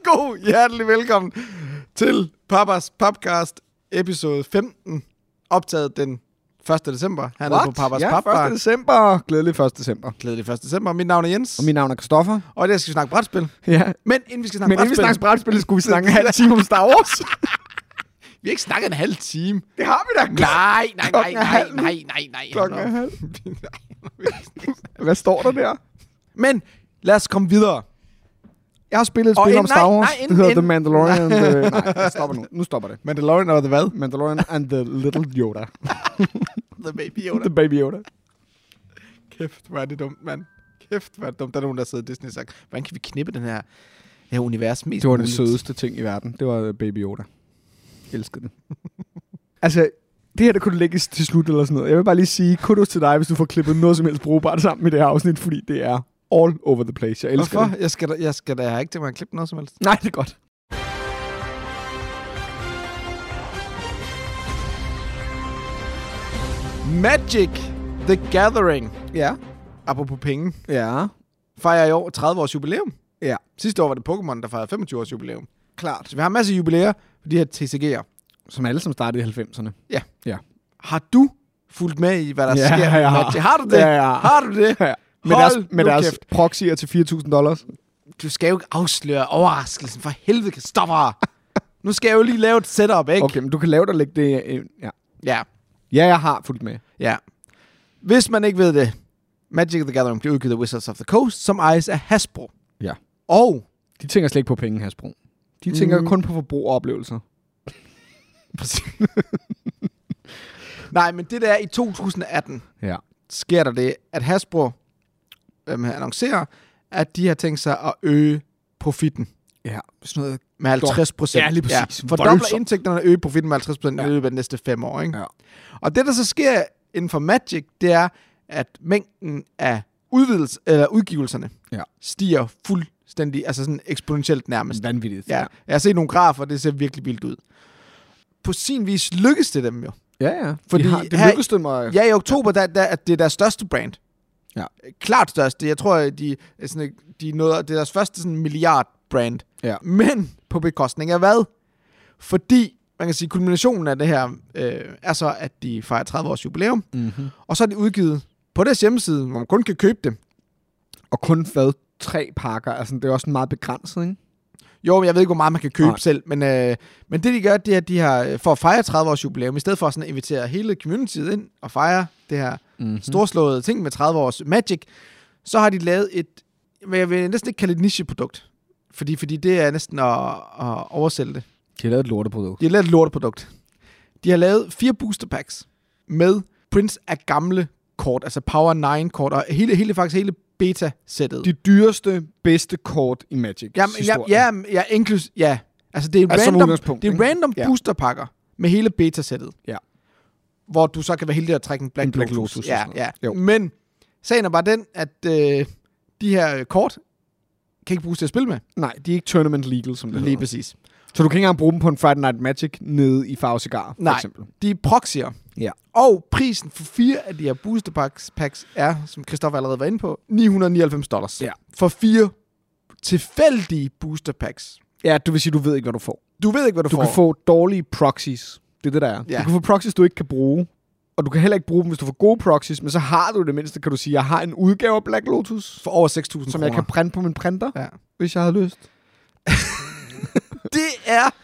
[SPEAKER 1] God hjertelig velkommen til Papas Podcast episode 15, optaget den 1. december. Han er på Papas
[SPEAKER 2] ja,
[SPEAKER 1] Pap
[SPEAKER 2] 1.
[SPEAKER 1] Bar.
[SPEAKER 2] december. Glædelig 1. december.
[SPEAKER 1] Glædelig 1. december. Mit navn er Jens,
[SPEAKER 2] Og mit navn er Christoffer.
[SPEAKER 1] og i dag skal vi snakke brætspil.
[SPEAKER 2] Ja.
[SPEAKER 1] Men inden vi skal snakke
[SPEAKER 2] Men inden vi
[SPEAKER 1] brætspil,
[SPEAKER 2] snakker brætspil, skulle vi snakke en halv time om Star Wars.
[SPEAKER 1] vi har ikke snakket en halv time.
[SPEAKER 2] det har vi da.
[SPEAKER 1] Nej, nej, nej,
[SPEAKER 2] Klokken er
[SPEAKER 1] nej,
[SPEAKER 2] halv.
[SPEAKER 1] nej, nej, nej.
[SPEAKER 2] Klokken er halv.
[SPEAKER 1] Nej.
[SPEAKER 2] Hvad står der der?
[SPEAKER 1] Men lad os komme videre.
[SPEAKER 2] Jeg har spillet et
[SPEAKER 1] Og
[SPEAKER 2] spil
[SPEAKER 1] en-
[SPEAKER 2] om Star
[SPEAKER 1] nej,
[SPEAKER 2] Wars.
[SPEAKER 1] nej, en-
[SPEAKER 2] det hedder
[SPEAKER 1] en-
[SPEAKER 2] The Mandalorian. øh, nej, jeg stopper nu. Nu stopper det.
[SPEAKER 1] Mandalorian og The hvad?
[SPEAKER 2] Mandalorian and the Little Yoda.
[SPEAKER 1] The Baby
[SPEAKER 2] The Baby Yoda.
[SPEAKER 1] Kæft, hvor er det dumt, mand. Kæft, hvor er det dumt. Der er nogen, der sidder i Disney og sagt, hvordan kan vi knippe den her, det her univers mest
[SPEAKER 2] Det var det
[SPEAKER 1] muligt?"
[SPEAKER 2] sødeste ting i verden. Det var øh, Baby Yoda. Elskede det. altså, det her, der kunne lægges til slut eller sådan noget. Jeg vil bare lige sige, kudos til dig, hvis du får klippet noget som helst brugbart sammen i det her afsnit, fordi det er all over the place. Jeg elsker
[SPEAKER 1] Hvorfor?
[SPEAKER 2] det.
[SPEAKER 1] Jeg skal, da, jeg skal da jeg har ikke tænkt mig at klippe noget som helst.
[SPEAKER 2] Nej, det er godt.
[SPEAKER 1] Magic The Gathering.
[SPEAKER 2] Ja.
[SPEAKER 1] Apropos penge.
[SPEAKER 2] Ja.
[SPEAKER 1] Fejrer i år 30 års jubilæum.
[SPEAKER 2] Ja.
[SPEAKER 1] Sidste år var det Pokémon, der fejrede 25 års jubilæum.
[SPEAKER 2] Klart.
[SPEAKER 1] Så vi har masser af jubilæer på de her TCG'er.
[SPEAKER 2] Som alle, som startede i 90'erne.
[SPEAKER 1] Har du fulgt med i, hvad der
[SPEAKER 2] Ja,
[SPEAKER 1] sker? med
[SPEAKER 2] jeg har.
[SPEAKER 1] Magic? Har du det?
[SPEAKER 2] Ja, jeg har.
[SPEAKER 1] Har du det?
[SPEAKER 2] Ja. Med
[SPEAKER 1] Hold
[SPEAKER 2] deres, med
[SPEAKER 1] nu
[SPEAKER 2] deres
[SPEAKER 1] kæft.
[SPEAKER 2] proxyer til 4.000 dollars.
[SPEAKER 1] Du skal jo ikke afsløre overraskelsen. For helvede, Kristoffer. nu skal jeg jo lige lave et setup, ikke?
[SPEAKER 2] Okay, men du kan lave det og lægge det... øh, Ja.
[SPEAKER 1] Ja.
[SPEAKER 2] ja, jeg har fulgt med.
[SPEAKER 1] Ja. Hvis man ikke ved det, Magic the Gathering blev udgivet af Wizards of the Coast, som ejes af Hasbro.
[SPEAKER 2] Ja.
[SPEAKER 1] Og,
[SPEAKER 2] De tænker slet ikke på penge, Hasbro. De tænker
[SPEAKER 1] Mm.
[SPEAKER 2] mm. kun på forbrug og oplevelser.
[SPEAKER 1] nej, men det der i 2018
[SPEAKER 2] Ja.
[SPEAKER 1] sker der det, at Hasbro øhm, annoncerer, at de har tænkt sig at øge profitten
[SPEAKER 2] Ja, sådan noget
[SPEAKER 1] med 50 procent.
[SPEAKER 2] Ja, lige præcis.
[SPEAKER 1] Fordobler
[SPEAKER 2] Voldsomt.
[SPEAKER 1] indtægterne og øger profitten med 50 procent i
[SPEAKER 2] Ja.
[SPEAKER 1] løbet af de næste fem år. Ikke?
[SPEAKER 2] Ja.
[SPEAKER 1] Og det, der så sker inden for Magic, det er, at mængden af udvidels- eller udgivelserne
[SPEAKER 2] Ja.
[SPEAKER 1] stiger fuldstændig, altså sådan eksponentielt nærmest.
[SPEAKER 2] vanvittigt.
[SPEAKER 1] Ja. Jeg har set nogle grafer, det ser virkelig vildt ud. På sin vis lykkes det dem jo.
[SPEAKER 2] Ja, ja.
[SPEAKER 1] Fordi
[SPEAKER 2] Fordi de har, det
[SPEAKER 1] her-
[SPEAKER 2] lykkedes dem at...
[SPEAKER 1] Ja, i oktober, der, der, at det er deres største brand.
[SPEAKER 2] Ja.
[SPEAKER 1] Klart største. Jeg tror, at de, er sådan, de nåede, det er deres første sådan, milliard-brand.
[SPEAKER 2] Ja.
[SPEAKER 1] Men på bekostning af hvad? Fordi, man kan sige, kulminationen af det her øh, er så, at de fejrer 30 års jubilæum,
[SPEAKER 2] Mm-hmm.
[SPEAKER 1] og så er de udgivet på deres hjemmeside, hvor man kun kan købe dem.
[SPEAKER 2] Og kun fad tre pakker. Altså, det er også meget begrænset, ikke?
[SPEAKER 1] Jo, men jeg ved ikke, hvor meget man kan købe Nej.
[SPEAKER 2] Nej.
[SPEAKER 1] selv, men, øh, men det de gør, det er, at de har, øh, for at fejre 30 års jubilæum, i stedet for sådan at invitere hele communityet ind og fejre det her
[SPEAKER 2] Mm-hmm.
[SPEAKER 1] storslåede ting med 30 års magic, så har de lavet et, hvad jeg vil næsten ikke kalde et nicheprodukt. Fordi, fordi det er næsten at, at oversælge det.
[SPEAKER 2] De har lavet et lorteprodukt.
[SPEAKER 1] De har lavet et lorteprodukt. De har lavet fire booster packs med prints af gamle kort, altså Power 9 kort, og hele, hele faktisk hele beta-sættet.
[SPEAKER 2] De dyreste, bedste kort i Magic.
[SPEAKER 1] Jamen, ja, ja, ja, inklus, ja. Altså, det er
[SPEAKER 2] Altså, som
[SPEAKER 1] random,
[SPEAKER 2] udgangspunkt,
[SPEAKER 1] det er
[SPEAKER 2] ikke?
[SPEAKER 1] random
[SPEAKER 2] Ja.
[SPEAKER 1] boosterpakker med hele beta-sættet.
[SPEAKER 2] Ja.
[SPEAKER 1] Hvor du så kan være heldig at trække en Black,
[SPEAKER 2] En Black
[SPEAKER 1] Lotus.
[SPEAKER 2] Lotus og
[SPEAKER 1] Ja,
[SPEAKER 2] sådan
[SPEAKER 1] ja.
[SPEAKER 2] noget. Jo.
[SPEAKER 1] Men sagen er bare den, at øh, de her øh, kort kan ikke bruges til at spille med.
[SPEAKER 2] Nej, de er ikke tournament legal, som det
[SPEAKER 1] Lige
[SPEAKER 2] hedder.
[SPEAKER 1] præcis.
[SPEAKER 2] Så du kan ikke engang bruge dem på en Friday Night Magic nede i Farve Cigar, for
[SPEAKER 1] Nej.
[SPEAKER 2] eksempel.
[SPEAKER 1] De er proxier.
[SPEAKER 2] Ja.
[SPEAKER 1] Og prisen for fire af de her booster packs, packs er, som Christoffer allerede var inde på, 999 dollars.
[SPEAKER 2] Ja.
[SPEAKER 1] For fire tilfældige booster packs.
[SPEAKER 2] Ja, du vil sige, du ved ikke, hvad du får.
[SPEAKER 1] Du ved ikke, hvad du,
[SPEAKER 2] Du
[SPEAKER 1] får.
[SPEAKER 2] kan få dårlige proxies. Det er det, der er.
[SPEAKER 1] Ja.
[SPEAKER 2] Du kan få proxies, du ikke kan bruge. Og du kan heller ikke bruge dem, hvis du får gode proxies. Men så har du det mindste, kan du sige, jeg har en udgave af Black Lotus,
[SPEAKER 1] for over 6.000
[SPEAKER 2] som
[SPEAKER 1] kroner.
[SPEAKER 2] jeg kan printe på min printer,
[SPEAKER 1] Ja.
[SPEAKER 2] hvis jeg har lyst.
[SPEAKER 1] Det er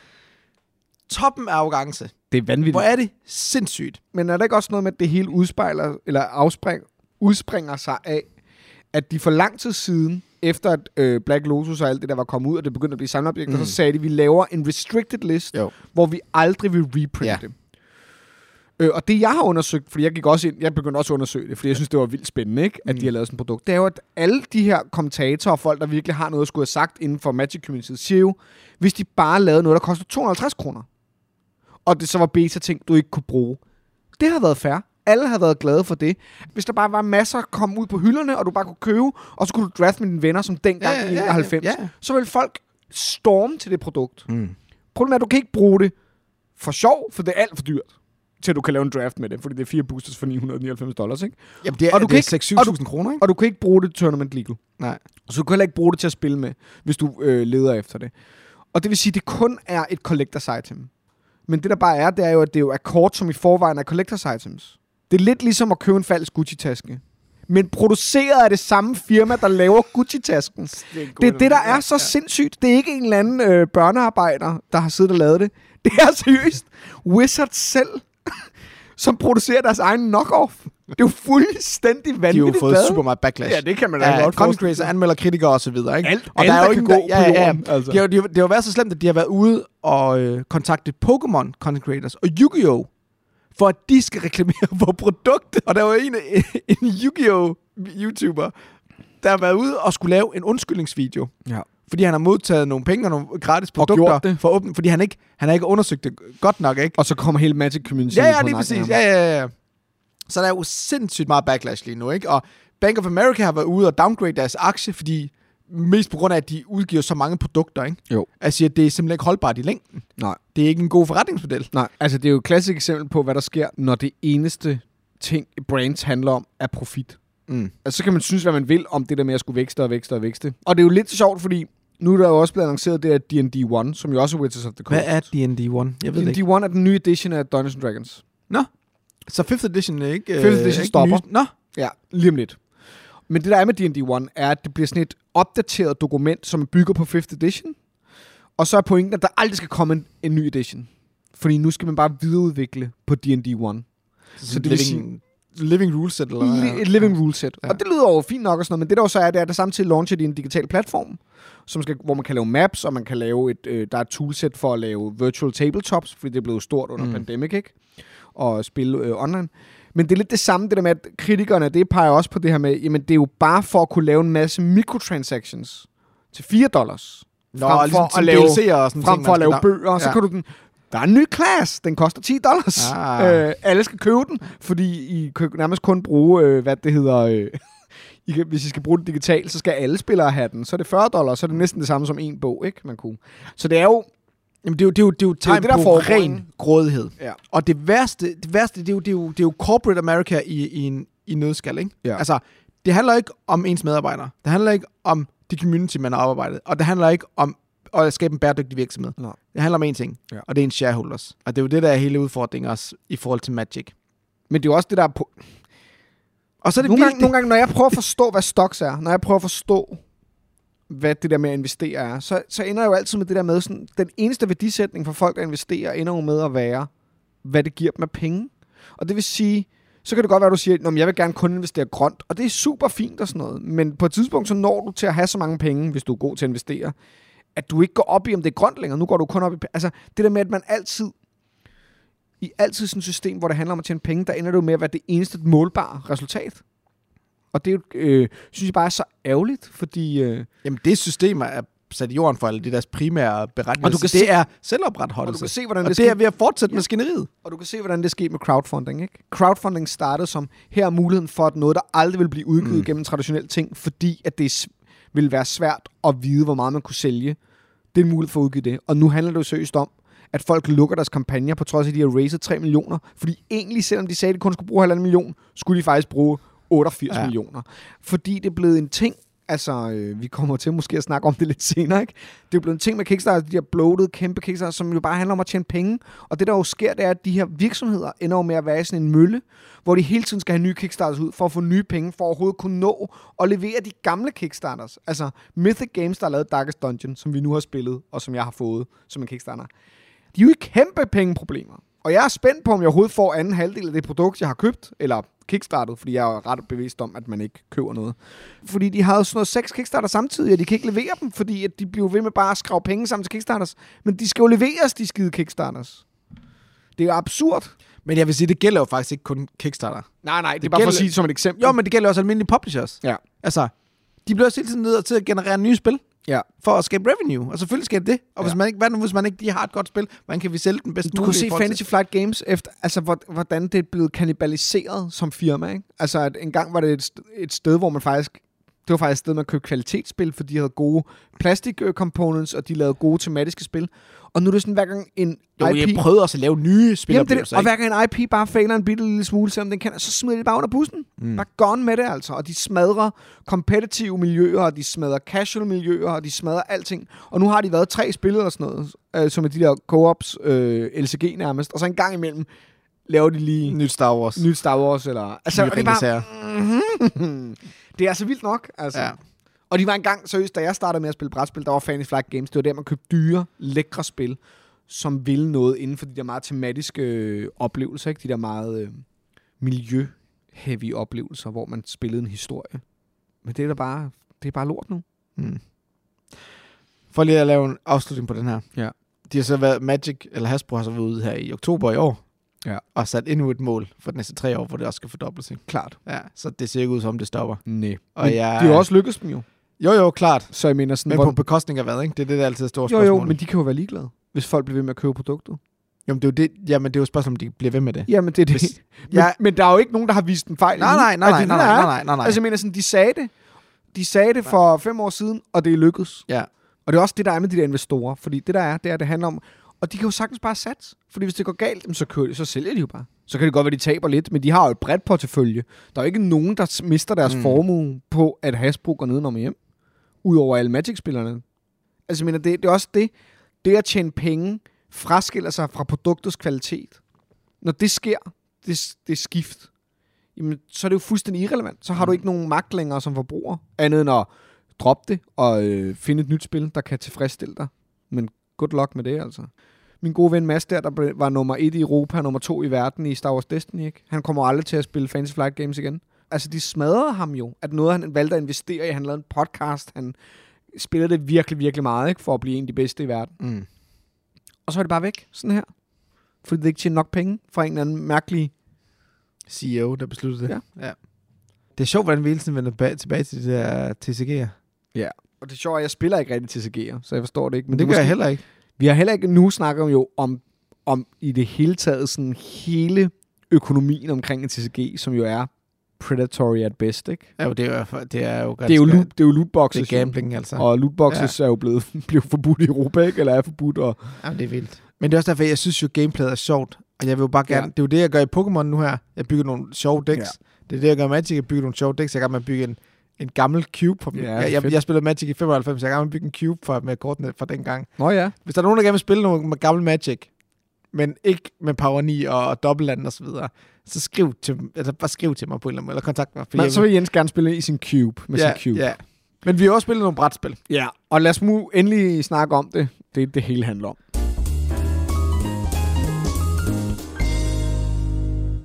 [SPEAKER 1] toppen af arrogance.
[SPEAKER 2] Det er vanvittigt.
[SPEAKER 1] Hvor er det sindssygt.
[SPEAKER 2] Men er der ikke også noget med, at det hele udspejler, eller afspring, udspringer sig af, at de for lang tid siden, efter at øh, Black Lotus og alt det der var kommet ud, og det begyndte at blive samleobjekter, mm. så sagde de, at vi laver en restricted list,
[SPEAKER 1] Jo.
[SPEAKER 2] hvor vi aldrig vil reprinte
[SPEAKER 1] Ja.
[SPEAKER 2] ja. dem. Øh, og det, jeg har undersøgt, fordi jeg gik også ind, jeg begyndte også at undersøge det, fordi jeg synes, det var vildt spændende, ikke? at
[SPEAKER 1] Mm.
[SPEAKER 2] de har lavet sådan et produkt, det er jo, at alle de her kommentatorer og folk, der virkelig har noget at skulle have sagt inden for Magic Community, siger jo, hvis de bare lavede noget, der koster 250 kroner, og det så var beta-ting, du ikke kunne bruge, det har været fair. Alle har været glade for det. Hvis der bare var masser, kom ud på hylderne, og du bare kunne købe, og så kunne du drafte med dine venner, som dengang
[SPEAKER 1] Ja,
[SPEAKER 2] ja,
[SPEAKER 1] ja,
[SPEAKER 2] i 91,
[SPEAKER 1] ja, ja.
[SPEAKER 2] så ville folk storme til det produkt.
[SPEAKER 1] Mm.
[SPEAKER 2] Problemet er, at du kan ikke bruge det for sjov, for det er alt for dyrt, til at du kan lave en draft med det, fordi det er fire boosters for 999 dollars, ikke?
[SPEAKER 1] Jamen, det er,
[SPEAKER 2] Og du kan
[SPEAKER 1] det
[SPEAKER 2] ikke-
[SPEAKER 1] er 6-7.000 kroner, ikke?
[SPEAKER 2] Og du kan ikke bruge det til tournament legal.
[SPEAKER 1] Nej.
[SPEAKER 2] Så du kan heller ikke bruge det til at spille med, hvis du øh, leder efter det. Og det vil sige, at det kun er et collector's item. Men det der bare er, det er jo, at det jo er kort, som i forvejen er collector's items. Det er lidt ligesom at købe en falsk Gucci-taske. Men produceret af det samme firma, der laver Gucci-tasken.
[SPEAKER 1] Det er,
[SPEAKER 2] Det er det, der er så sindssygt. Det er ikke en eller anden øh, børnearbejder, der har siddet og lavet det. Det er seriøst Wizards selv, som producerer deres egen knockoff. Det er jo fuldstændig
[SPEAKER 1] De har
[SPEAKER 2] vanvittigt
[SPEAKER 1] jo fået
[SPEAKER 2] bad.
[SPEAKER 1] super meget backlash.
[SPEAKER 2] Ja, det kan man da
[SPEAKER 1] Ja,
[SPEAKER 2] godt
[SPEAKER 1] content
[SPEAKER 2] forestille
[SPEAKER 1] creators anmelder kritikere og så videre, ikke?
[SPEAKER 2] Alt-
[SPEAKER 1] og
[SPEAKER 2] alt,
[SPEAKER 1] der er
[SPEAKER 2] der
[SPEAKER 1] jo
[SPEAKER 2] kan
[SPEAKER 1] ingen, der-
[SPEAKER 2] gå på jorden, altså.
[SPEAKER 1] De har, jo- de, har- det har jo været så slemt, at de har været ude og øh, kontakte Pokémon content creators og Yu-Gi-Oh! for at de skal reklamere for produktet. Og der var en, en Yu-Gi-Oh! YouTuber, der har været ude og skulle lave en undskyldningsvideo.
[SPEAKER 2] Ja.
[SPEAKER 1] Fordi han har modtaget nogle penge og nogle gratis produkter.
[SPEAKER 2] gjort det.
[SPEAKER 1] For åben, fordi han ikke, han har ikke undersøgt det godt nok, ikke?
[SPEAKER 2] Og så kommer hele Magic Community
[SPEAKER 1] Ja,
[SPEAKER 2] ud
[SPEAKER 1] ja,
[SPEAKER 2] på
[SPEAKER 1] lige
[SPEAKER 2] nakken af
[SPEAKER 1] præcis.
[SPEAKER 2] ham.
[SPEAKER 1] Ja, ja, ja. Så der er jo sindssygt meget backlash lige nu, ikke? Og Bank of America har været ude og downgrade deres aktie, fordi mest på grund af, at de udgiver så mange produkter, ikke?
[SPEAKER 2] Jo.
[SPEAKER 1] Altså, at det er simpelthen ikke holdbart i længden.
[SPEAKER 2] Nej.
[SPEAKER 1] Det er ikke en god forretningsmodel.
[SPEAKER 2] Nej, altså det er jo et klassisk eksempel på, hvad der sker, når det eneste ting, brands handler om, er profit.
[SPEAKER 1] Mm.
[SPEAKER 2] Altså så kan man synes, hvad man vil om det der med at skulle vækste og vækste og vækste. Og det er jo lidt sjovt, fordi nu er der jo også blevet annonceret det her D&D 1, som jo også er Wizards of the Coast.
[SPEAKER 1] Hvad er D&D 1? Jeg ved det ikke.
[SPEAKER 2] D&D 1 er den nye edition af Dungeons Dragons.
[SPEAKER 1] Så 5th edition er ikke... øh,
[SPEAKER 2] Fifth edition
[SPEAKER 1] ikke
[SPEAKER 2] stopper.
[SPEAKER 1] nye- Nå,
[SPEAKER 2] Ja, lige om lidt. Men det, der er med D&D 1, er, at det bliver sådan et opdateret dokument, som bygger på 5th edition. Og så er pointen, at der aldrig skal komme en, en ny edition. Fordi nu skal man bare videreudvikle på D&D 1.
[SPEAKER 1] så
[SPEAKER 2] det
[SPEAKER 1] det
[SPEAKER 2] vil
[SPEAKER 1] living, living rule set, eller hvad?
[SPEAKER 2] Li- et living rule set. Ja.
[SPEAKER 1] Ja.
[SPEAKER 2] Og det lyder over fint nok og sådan noget, men det der jo så er, det er, at der samtidig launcher de en digital platform, som skal, hvor man kan lave maps, og man kan lave et, øh, der er et toolset for at lave virtual tabletops, fordi det er blevet stort under mm.
[SPEAKER 1] Mm.
[SPEAKER 2] pandemic, ikke? Og spille øh, online. Men det er lidt det samme, det der med, at kritikerne, det peger også på det her med, jamen det er jo bare for at kunne lave en masse microtransactions til 4 dollars.
[SPEAKER 1] Nå, frem ligesom
[SPEAKER 2] at
[SPEAKER 1] at
[SPEAKER 2] lave-
[SPEAKER 1] lave, DLC'er og sådan
[SPEAKER 2] Frem
[SPEAKER 1] ting,
[SPEAKER 2] for
[SPEAKER 1] man
[SPEAKER 2] at lave
[SPEAKER 1] skal-
[SPEAKER 2] bøger, ja. så
[SPEAKER 1] Ja.
[SPEAKER 2] kan du den... Der er en ny klasse, den koster 10 dollars.
[SPEAKER 1] Ah.
[SPEAKER 2] Øh, alle skal købe den, fordi I kan nærmest kun bruge, øh, hvad det hedder... Øh, I kan, hvis I skal bruge den digitalt, så skal alle spillere have den. Så er det 40 dollars, så er det næsten det samme som en bog, ikke? Man kunne. Så det er jo...
[SPEAKER 1] Jamen, det er jo, det er jo, det er jo tegn
[SPEAKER 2] det, der
[SPEAKER 1] det, på
[SPEAKER 2] foregår, ikke?
[SPEAKER 1] ren grådighed.
[SPEAKER 2] Ja.
[SPEAKER 1] Og det værste, det, værste det, er jo, det, er jo, det er jo corporate America i, i, en, i nødskal, ikke?
[SPEAKER 2] Ja.
[SPEAKER 1] Altså, det handler ikke om ens medarbejdere. Det handler ikke om det community, man har arbejdet. Og det handler ikke om at skabe en bæredygtig virksomhed.
[SPEAKER 2] Nej.
[SPEAKER 1] Det handler om én ting,
[SPEAKER 2] Ja.
[SPEAKER 1] og det er en shareholders. Og det er jo det, der er hele udfordringen også i forhold til Magic.
[SPEAKER 2] Men det er jo også det, der er på...
[SPEAKER 1] Og så er det
[SPEAKER 2] Nogle gange,
[SPEAKER 1] vildt,
[SPEAKER 2] nogle gange, når jeg prøver at forstå, hvad stocks er, når jeg prøver at forstå, hvad det der med at investere er, så, så ender jeg jo altid med det der med, sådan, den eneste værdisætning for folk, der investerer, ender jo med at være, hvad det giver dem af penge. Og det vil sige, så kan det godt være, at du siger, at jeg vil gerne kun investere grønt, og det er super fint og sådan noget, men på et tidspunkt, så når du til at have så mange penge, hvis du er god til at investere, at du ikke går op i, om det er grønt længere. Nu går du kun op i... Altså, det der med, at man altid... I altid sådan et system, hvor det handler om at tjene penge, der ender det jo med at være det eneste målbare resultat. Og det er jo, øh, synes jeg bare er så ærgerligt, fordi... Øh,
[SPEAKER 1] Jamen, det system er sat i jorden for alle. Det er deres primære beretning.
[SPEAKER 2] Og du kan
[SPEAKER 1] det
[SPEAKER 2] se-
[SPEAKER 1] er
[SPEAKER 2] og du
[SPEAKER 1] selvopretholdelse.
[SPEAKER 2] kan se, hvordan
[SPEAKER 1] og
[SPEAKER 2] det,
[SPEAKER 1] det er
[SPEAKER 2] skete,
[SPEAKER 1] ved at fortsætte ja. maskineriet.
[SPEAKER 2] og du kan se, hvordan det skete med crowdfunding. Ikke? Crowdfunding startede som, her er muligheden for, at noget, der aldrig vil blive udgivet mm. gennem traditionelle ting, fordi at det s- ville være svært at vide, hvor meget man kunne sælge. Det er muligt for at udgive det. Og nu handler det jo seriøst om, at folk lukker deres kampagner, på trods af, at de har raised 3 millioner. Fordi egentlig, selvom de sagde, at de kun skulle bruge 1,5 million, skulle de faktisk bruge 88 ja.
[SPEAKER 1] Ja.
[SPEAKER 2] millioner. Fordi det er blevet en ting, altså øh, vi kommer til måske at snakke om det lidt senere, ikke? Det er blevet en ting med Kickstarter, de her bloated kæmpe Kickstarter, som jo bare handler om at tjene penge. Og det der jo sker, det er, at de her virksomheder ender jo med at være i sådan en mølle, hvor de hele tiden skal have nye Kickstarters ud for at få nye penge, for at overhovedet kunne nå og levere de gamle Kickstarters. Altså Mythic Games, der har lavet Darkest Dungeon, som vi nu har spillet, og som jeg har fået som en Kickstarter. De er jo i kæmpe pengeproblemer. Og jeg er spændt på, om jeg overhovedet får anden halvdel af det produkt, jeg har købt, eller kickstartet, fordi jeg er ret bevidst om, at man ikke køber noget. Fordi de havde sådan noget seks kickstarter samtidig, og de kan ikke levere dem, fordi at de bliver ved med bare at skrave penge sammen til kickstarters. Men de skal jo leveres, de skide kickstarters. Det er jo absurd.
[SPEAKER 1] Men jeg vil sige, det gælder jo faktisk ikke kun Kickstarter.
[SPEAKER 2] Nej, nej, det, det er
[SPEAKER 1] Det
[SPEAKER 2] bare for at
[SPEAKER 1] gælder-
[SPEAKER 2] sige det som et eksempel.
[SPEAKER 1] Jo, men det gælder også almindelige publishers.
[SPEAKER 2] Ja.
[SPEAKER 1] Altså, de bliver også hele tiden nødt til at generere nye spil
[SPEAKER 2] ja.
[SPEAKER 1] for at skabe revenue. Og selvfølgelig skal det det. Og hvis
[SPEAKER 2] Ja.
[SPEAKER 1] man ikke, hvad nu, hvis man ikke lige har et godt spil, hvordan kan vi sælge den bedst
[SPEAKER 2] Du kunne
[SPEAKER 1] muligt i
[SPEAKER 2] se
[SPEAKER 1] forhold til-
[SPEAKER 2] Fantasy Flight Games, efter, altså, hvor- hvordan det er blevet kannibaliseret som firma. Ikke? Altså, at engang var det et, st- et sted, hvor man faktisk... Det var faktisk et sted, man købte kvalitetsspil, fordi de havde gode plastik øh, components, og de lavede gode tematiske spil. Og nu er det sådan, hver gang en
[SPEAKER 1] Jo,
[SPEAKER 2] IP...
[SPEAKER 1] jeg prøvede også at lave nye spil.
[SPEAKER 2] Jamen, det, er det, og hver gang en IP bare fejler en bitte lille smule, selvom den kan, så smider de bare under bussen. Mm. Bare gone med det altså. Og de smadrer kompetitive miljøer, og de smadrer casual miljøer, og de smadrer alting. Og nu har de været tre spil eller sådan noget, øh, som er de der co-ops, øh, LCG nærmest. Og så en gang imellem laver de lige
[SPEAKER 1] Nyt Star Wars.
[SPEAKER 2] nyt Star Wars. Eller, altså,
[SPEAKER 1] Nye
[SPEAKER 2] og det, er bare,
[SPEAKER 1] ringesager.
[SPEAKER 2] det er altså vildt nok. Altså.
[SPEAKER 1] Ja.
[SPEAKER 2] Og de var engang, seriøst, da jeg startede med at spille brætspil, der var Fantasy Flight Games. Det var der, man købte dyre, lækre spil, som ville noget inden for de der meget tematiske øh, oplevelser, ikke? De der meget øh, miljø heavy oplevelser, hvor man spillede en historie. Men det er da bare, det er bare lort nu.
[SPEAKER 1] Mm. For lige at lave en afslutning på den her.
[SPEAKER 2] Ja.
[SPEAKER 1] De har så været, Magic, eller Hasbro har så været ude her i oktober i år.
[SPEAKER 2] Ja.
[SPEAKER 1] Og sat endnu et mål for de næste tre år, hvor det også skal fordobles. ikke?
[SPEAKER 2] Klart.
[SPEAKER 1] Ja, så det ser ikke ud som, det stopper.
[SPEAKER 2] Nej.
[SPEAKER 1] Og
[SPEAKER 2] Og
[SPEAKER 1] jeg-
[SPEAKER 2] jeg... Det er jo også lykkedes dem jo.
[SPEAKER 1] Jo, jo, klart.
[SPEAKER 2] Så jeg mener sådan,
[SPEAKER 1] Men
[SPEAKER 2] hvor-
[SPEAKER 1] på bekostning af hvad, ikke? Det er det, der altid er stort
[SPEAKER 2] jo,
[SPEAKER 1] spørgsmål.
[SPEAKER 2] jo, men de kan jo være ligeglade, hvis folk bliver ved med at købe produktet.
[SPEAKER 1] Jamen, det er jo det, jamen, det er jo et spørgsmål, om de bliver ved med det.
[SPEAKER 2] Jamen, det er det.
[SPEAKER 1] Hvis-
[SPEAKER 2] Hvis...
[SPEAKER 1] Ja.
[SPEAKER 2] Men, men, der er jo ikke nogen, der har vist en fejl.
[SPEAKER 1] Nej,
[SPEAKER 2] endnu.
[SPEAKER 1] nej, nej,
[SPEAKER 2] Er
[SPEAKER 1] nej,
[SPEAKER 2] det
[SPEAKER 1] nej,
[SPEAKER 2] det, der
[SPEAKER 1] nej,
[SPEAKER 2] er?
[SPEAKER 1] nej, nej, nej.
[SPEAKER 2] Altså, jeg mener sådan, de sagde det. De sagde det for fem år siden, og det er lykkedes.
[SPEAKER 1] Ja.
[SPEAKER 2] Og det er også det, der er med de der investorer. Fordi det, der er, det er, det handler om... Og de kan jo sagtens bare sats. Fordi hvis det går galt, jamen, så, kører, de- så sælger de jo bare. Så kan det godt være, de taber lidt, men de har jo et bredt portefølje. Der er jo ikke nogen, der s- mister deres
[SPEAKER 1] Mm.
[SPEAKER 2] mm. formue på, at Hasbro går nedenom og hjem. Udover alle Magic-spillerne. Altså, jeg mener, det, det er også det. Det at tjene penge fraskiller sig fra produktets kvalitet. Når det sker, det, det skift, jamen, så er det jo fuldstændig irrelevant. Så har du ikke nogen magt længere som forbruger, andet end at droppe det og øh, finde et nyt spil, der kan tilfredsstille dig. Men good luck med det, altså. Min gode ven Mads der, der blev- var nummer et i Europa, nummer to i verden i Star Wars Destiny, ikke? han kommer aldrig til at spille Fantasy Flight Games igen. Altså, de smadrede ham jo, at noget, han valgte at investere i, han lavede en podcast, han spillede det virkelig, virkelig meget, ikke? for at blive en af de bedste i verden.
[SPEAKER 1] Mm.
[SPEAKER 2] Og så er det bare væk, sådan her. Fordi det ikke tjener nok penge fra en eller anden mærkelig
[SPEAKER 1] CEO, E der besluttede det.
[SPEAKER 2] Ja.
[SPEAKER 1] ja. Det er sjovt, hvordan vi hele tiden vender ba- tilbage til de der TCG'er.
[SPEAKER 2] Og det sjove er, at jeg spiller ikke rigtig til CG'er, så jeg forstår det ikke.
[SPEAKER 1] Men det gør
[SPEAKER 2] måske-
[SPEAKER 1] jeg heller ikke.
[SPEAKER 2] Vi har heller ikke nu snakket jo om, om i det hele taget sådan hele økonomien omkring en TCG, som jo er predatory at best, ikke?
[SPEAKER 1] Ja, jo, det er jo, for- det er jo,
[SPEAKER 2] Det er jo, loot, det er jo
[SPEAKER 1] Det
[SPEAKER 2] lootboxes.
[SPEAKER 1] er gambling, altså.
[SPEAKER 2] jo. Og lootboxes ja. er jo blevet, blev forbudt i Europa, ikke? Eller er forbudt. Og,
[SPEAKER 1] Jamen, det er vildt. Men det er også derfor, jeg synes jo, gameplayet er sjovt. Og jeg vil jo bare gerne... Ja.
[SPEAKER 2] Ja.
[SPEAKER 1] Det er jo det, jeg gør i Pokémon nu her. Jeg bygger nogle sjove decks. Ja.
[SPEAKER 2] Ja.
[SPEAKER 1] Det er det, jeg gør i Magic. Jeg bygger nogle sjove decks. Jeg er i gang med at bygge en, en gammel cube. På min.
[SPEAKER 2] Ja,
[SPEAKER 1] Ja, jeg, jeg,
[SPEAKER 2] fedt.
[SPEAKER 1] jeg spillede Magic i 95, så jeg er i gang med at bygge en cube for, med kortene fra dengang.
[SPEAKER 2] Nå ja.
[SPEAKER 1] Hvis der er nogen, der gerne vil spille nogle med gammel Magic, men ikke med Power 9 og, og Dobbeltland og så videre, så skriv til, altså bare skriv til mig på en eller anden måde, eller kontakt mig. fordi
[SPEAKER 2] Men
[SPEAKER 1] jeg
[SPEAKER 2] så vil Jens gerne spille i sin cube. Med
[SPEAKER 1] ja,
[SPEAKER 2] sin cube.
[SPEAKER 1] Ja. Men vi har også spillet nogle brætspil.
[SPEAKER 2] ja. Og lad os nu endelig snakke om det. Det er det, det hele handler om.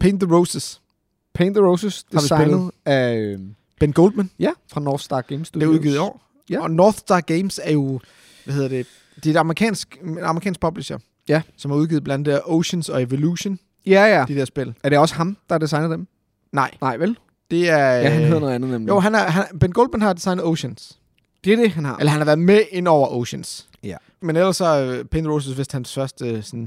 [SPEAKER 1] Paint the Roses.
[SPEAKER 2] Paint the Roses,
[SPEAKER 1] Har vi
[SPEAKER 2] designet af... øh,
[SPEAKER 1] Ben Goldman.
[SPEAKER 2] Ja, fra North Star Games
[SPEAKER 1] Det er
[SPEAKER 2] Studios.
[SPEAKER 1] udgivet i år. Ja.
[SPEAKER 2] Ja.
[SPEAKER 1] Og North Star Games er jo, hvad hedder det, det er et amerikansk, en amerikansk publisher,
[SPEAKER 2] Ja.
[SPEAKER 1] som har udgivet blandt andet Oceans og Evolution,
[SPEAKER 2] Ja, ja.
[SPEAKER 1] de der spil.
[SPEAKER 2] Er det også ham, der har designet dem?
[SPEAKER 1] Nej,
[SPEAKER 2] Nej, vel?
[SPEAKER 1] det er... øh,
[SPEAKER 2] Ja, han hedder noget andet nemlig.
[SPEAKER 1] Jo, han er, han, Ben Goldman har designet Oceans.
[SPEAKER 2] det er det, han har.
[SPEAKER 1] Eller han har været med ind over Oceans.
[SPEAKER 2] Ja.
[SPEAKER 1] Men ellers så er Paint the Roses vist hans første sådan,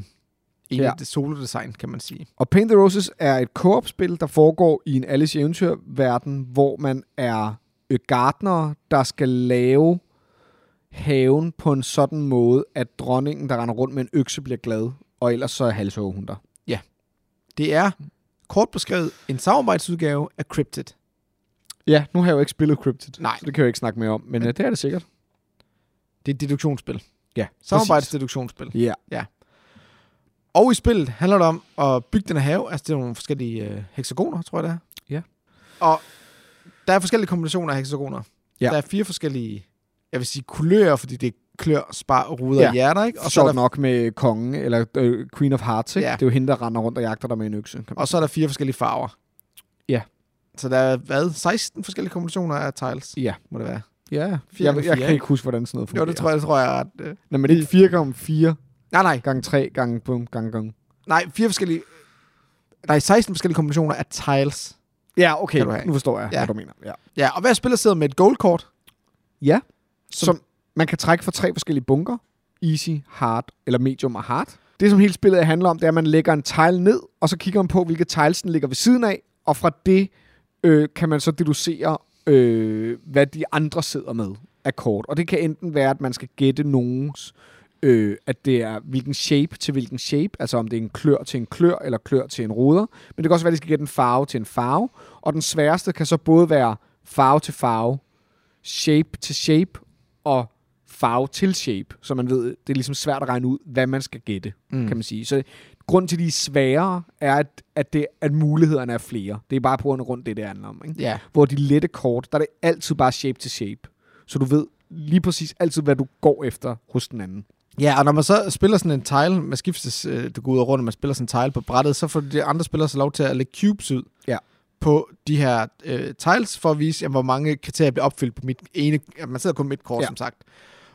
[SPEAKER 1] egentlig
[SPEAKER 2] Ja.
[SPEAKER 1] ja. solo-design, kan man sige.
[SPEAKER 2] Og Paint the Roses er et co-op-spil, der foregår i en Alice i Eventyr-verden, hvor man er øh, gartnere, der skal lave haven på en sådan måde, at dronningen, der render rundt med en økse, bliver glad, og ellers så halshugger hun dig.
[SPEAKER 1] Det er, kort beskrevet, en samarbejdsudgave af Cryptid.
[SPEAKER 2] Ja, nu har jeg jo ikke spillet Cryptid,
[SPEAKER 1] Nej.
[SPEAKER 2] så det kan jeg jo ikke snakke mere om, men øh, det er det sikkert.
[SPEAKER 1] Det er et deduktionsspil.
[SPEAKER 2] Ja,
[SPEAKER 1] Samarbejdsdeduktionsspil.
[SPEAKER 2] præcis. Ja.
[SPEAKER 1] Og i spillet handler det om at bygge den her have. Altså, det er nogle forskellige øh, hexagoner, tror jeg, det er.
[SPEAKER 2] Ja.
[SPEAKER 1] Og der er forskellige kombinationer af hexagoner.
[SPEAKER 2] Ja.
[SPEAKER 1] Der er fire forskellige, jeg vil sige kulører, fordi det er klør, spar, ruder ja.
[SPEAKER 2] Ja.
[SPEAKER 1] og hjerter, ikke?
[SPEAKER 2] Og
[SPEAKER 1] Og
[SPEAKER 2] så
[SPEAKER 1] så, er
[SPEAKER 2] Sjovt
[SPEAKER 1] der,
[SPEAKER 2] nok med kongen, eller øh, Queen of Hearts, ikke?
[SPEAKER 1] Ja.
[SPEAKER 2] Det er jo hende, der render rundt og jagter dig med en økse. kan man-
[SPEAKER 1] og så er der fire forskellige farver.
[SPEAKER 2] Ja.
[SPEAKER 1] Så der er, hvad, 16 forskellige kombinationer af tiles,
[SPEAKER 2] Ja.
[SPEAKER 1] må det være?
[SPEAKER 2] Ja,
[SPEAKER 1] Fire
[SPEAKER 2] jeg,
[SPEAKER 1] gange fire,
[SPEAKER 2] jeg kan
[SPEAKER 1] ikke?
[SPEAKER 2] ikke huske, hvordan sådan noget
[SPEAKER 1] Jo,
[SPEAKER 2] fungerer.
[SPEAKER 1] det tror jeg, det tror jeg er ret... Øh.
[SPEAKER 2] Nej, men det er 4 gange 4
[SPEAKER 1] Nej, nej,
[SPEAKER 2] gange 3 gange bum gange gange.
[SPEAKER 1] nej, fire forskellige... Nej, 16 forskellige kombinationer af tiles.
[SPEAKER 2] Ja, okay.
[SPEAKER 1] Kan du have.
[SPEAKER 2] Nu forstår jeg,
[SPEAKER 1] Ja.
[SPEAKER 2] ja. hvad du mener. Ja.
[SPEAKER 1] Ja, og hver spiller sidder med et goldkort.
[SPEAKER 2] ja.
[SPEAKER 1] Som-
[SPEAKER 2] Som, som man kan trække fra tre forskellige bunker. Easy, hard eller medium og hard. Det, som hele spillet handler om, det er, at man lægger en tile ned, og så kigger man på, hvilke tiles den ligger ved siden af, og fra det øh, kan man så deducere, øh, hvad de andre sidder med af kort. Og det kan enten være, at man skal gætte nogens, øh, at det er hvilken shape til hvilken shape, altså om det er en klør til en klør eller klør til en ruder. Men det kan også være, at de skal gætte en farve til en farve. Og den sværeste kan så både være farve til farve, shape til shape og farve til shape, så man ved, det er ligesom svært at regne ud, hvad man skal gætte,
[SPEAKER 1] Mm.
[SPEAKER 2] mm. kan man sige. Så grunden til, at de er sværere, er, at, at, det, at mulighederne er flere. Det er bare på grund af grund, det det handler om. Ikke?
[SPEAKER 1] Ja.
[SPEAKER 2] Hvor de lette kort, der er det altid bare shape til shape. Så du ved lige præcis altid, hvad du går efter hos den anden.
[SPEAKER 1] Ja, og når man så spiller sådan en tile, man skiftes, øh, du går ud og rundt, og man spiller sådan en tile på brættet, så får de andre spillere så lov til at lægge cubes ud
[SPEAKER 2] Ja.
[SPEAKER 1] på de her øh, tiles, for at vise, jamen, hvor mange kriterier bliver opfyldt på mit ene... Jamen, man sidder kun med et kort,
[SPEAKER 2] Ja.
[SPEAKER 1] ja. som sagt.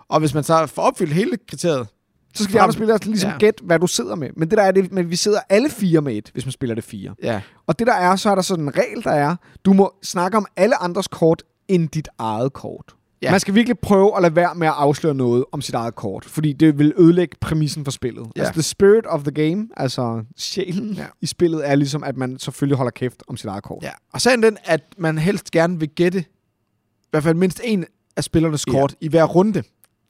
[SPEAKER 1] Og hvis man så får opfyldt hele kriteriet,
[SPEAKER 2] Så skal de andre spillere ligesom ja.
[SPEAKER 1] Ja.
[SPEAKER 2] gætte, hvad du sidder med. Men det der er det, men vi sidder alle fire med et, hvis man spiller det fire.
[SPEAKER 1] ja,
[SPEAKER 2] Og det der er, så er der sådan en regel, der er, du må snakke om alle andres kort end dit eget kort. Ja.
[SPEAKER 1] Ja.
[SPEAKER 2] Man skal virkelig prøve at lade være med at afsløre noget om sit eget kort, fordi det vil ødelægge præmissen for spillet. Ja.
[SPEAKER 1] Ja.
[SPEAKER 2] Altså the spirit of the game, altså sjælen ja.
[SPEAKER 1] Ja.
[SPEAKER 2] i spillet, er ligesom, at man selvfølgelig holder kæft om sit eget kort.
[SPEAKER 1] Ja, og sagen den, at man helst gerne vil gætte i hvert fald mindst en af spillernes
[SPEAKER 2] Ja.
[SPEAKER 1] kort i hver runde,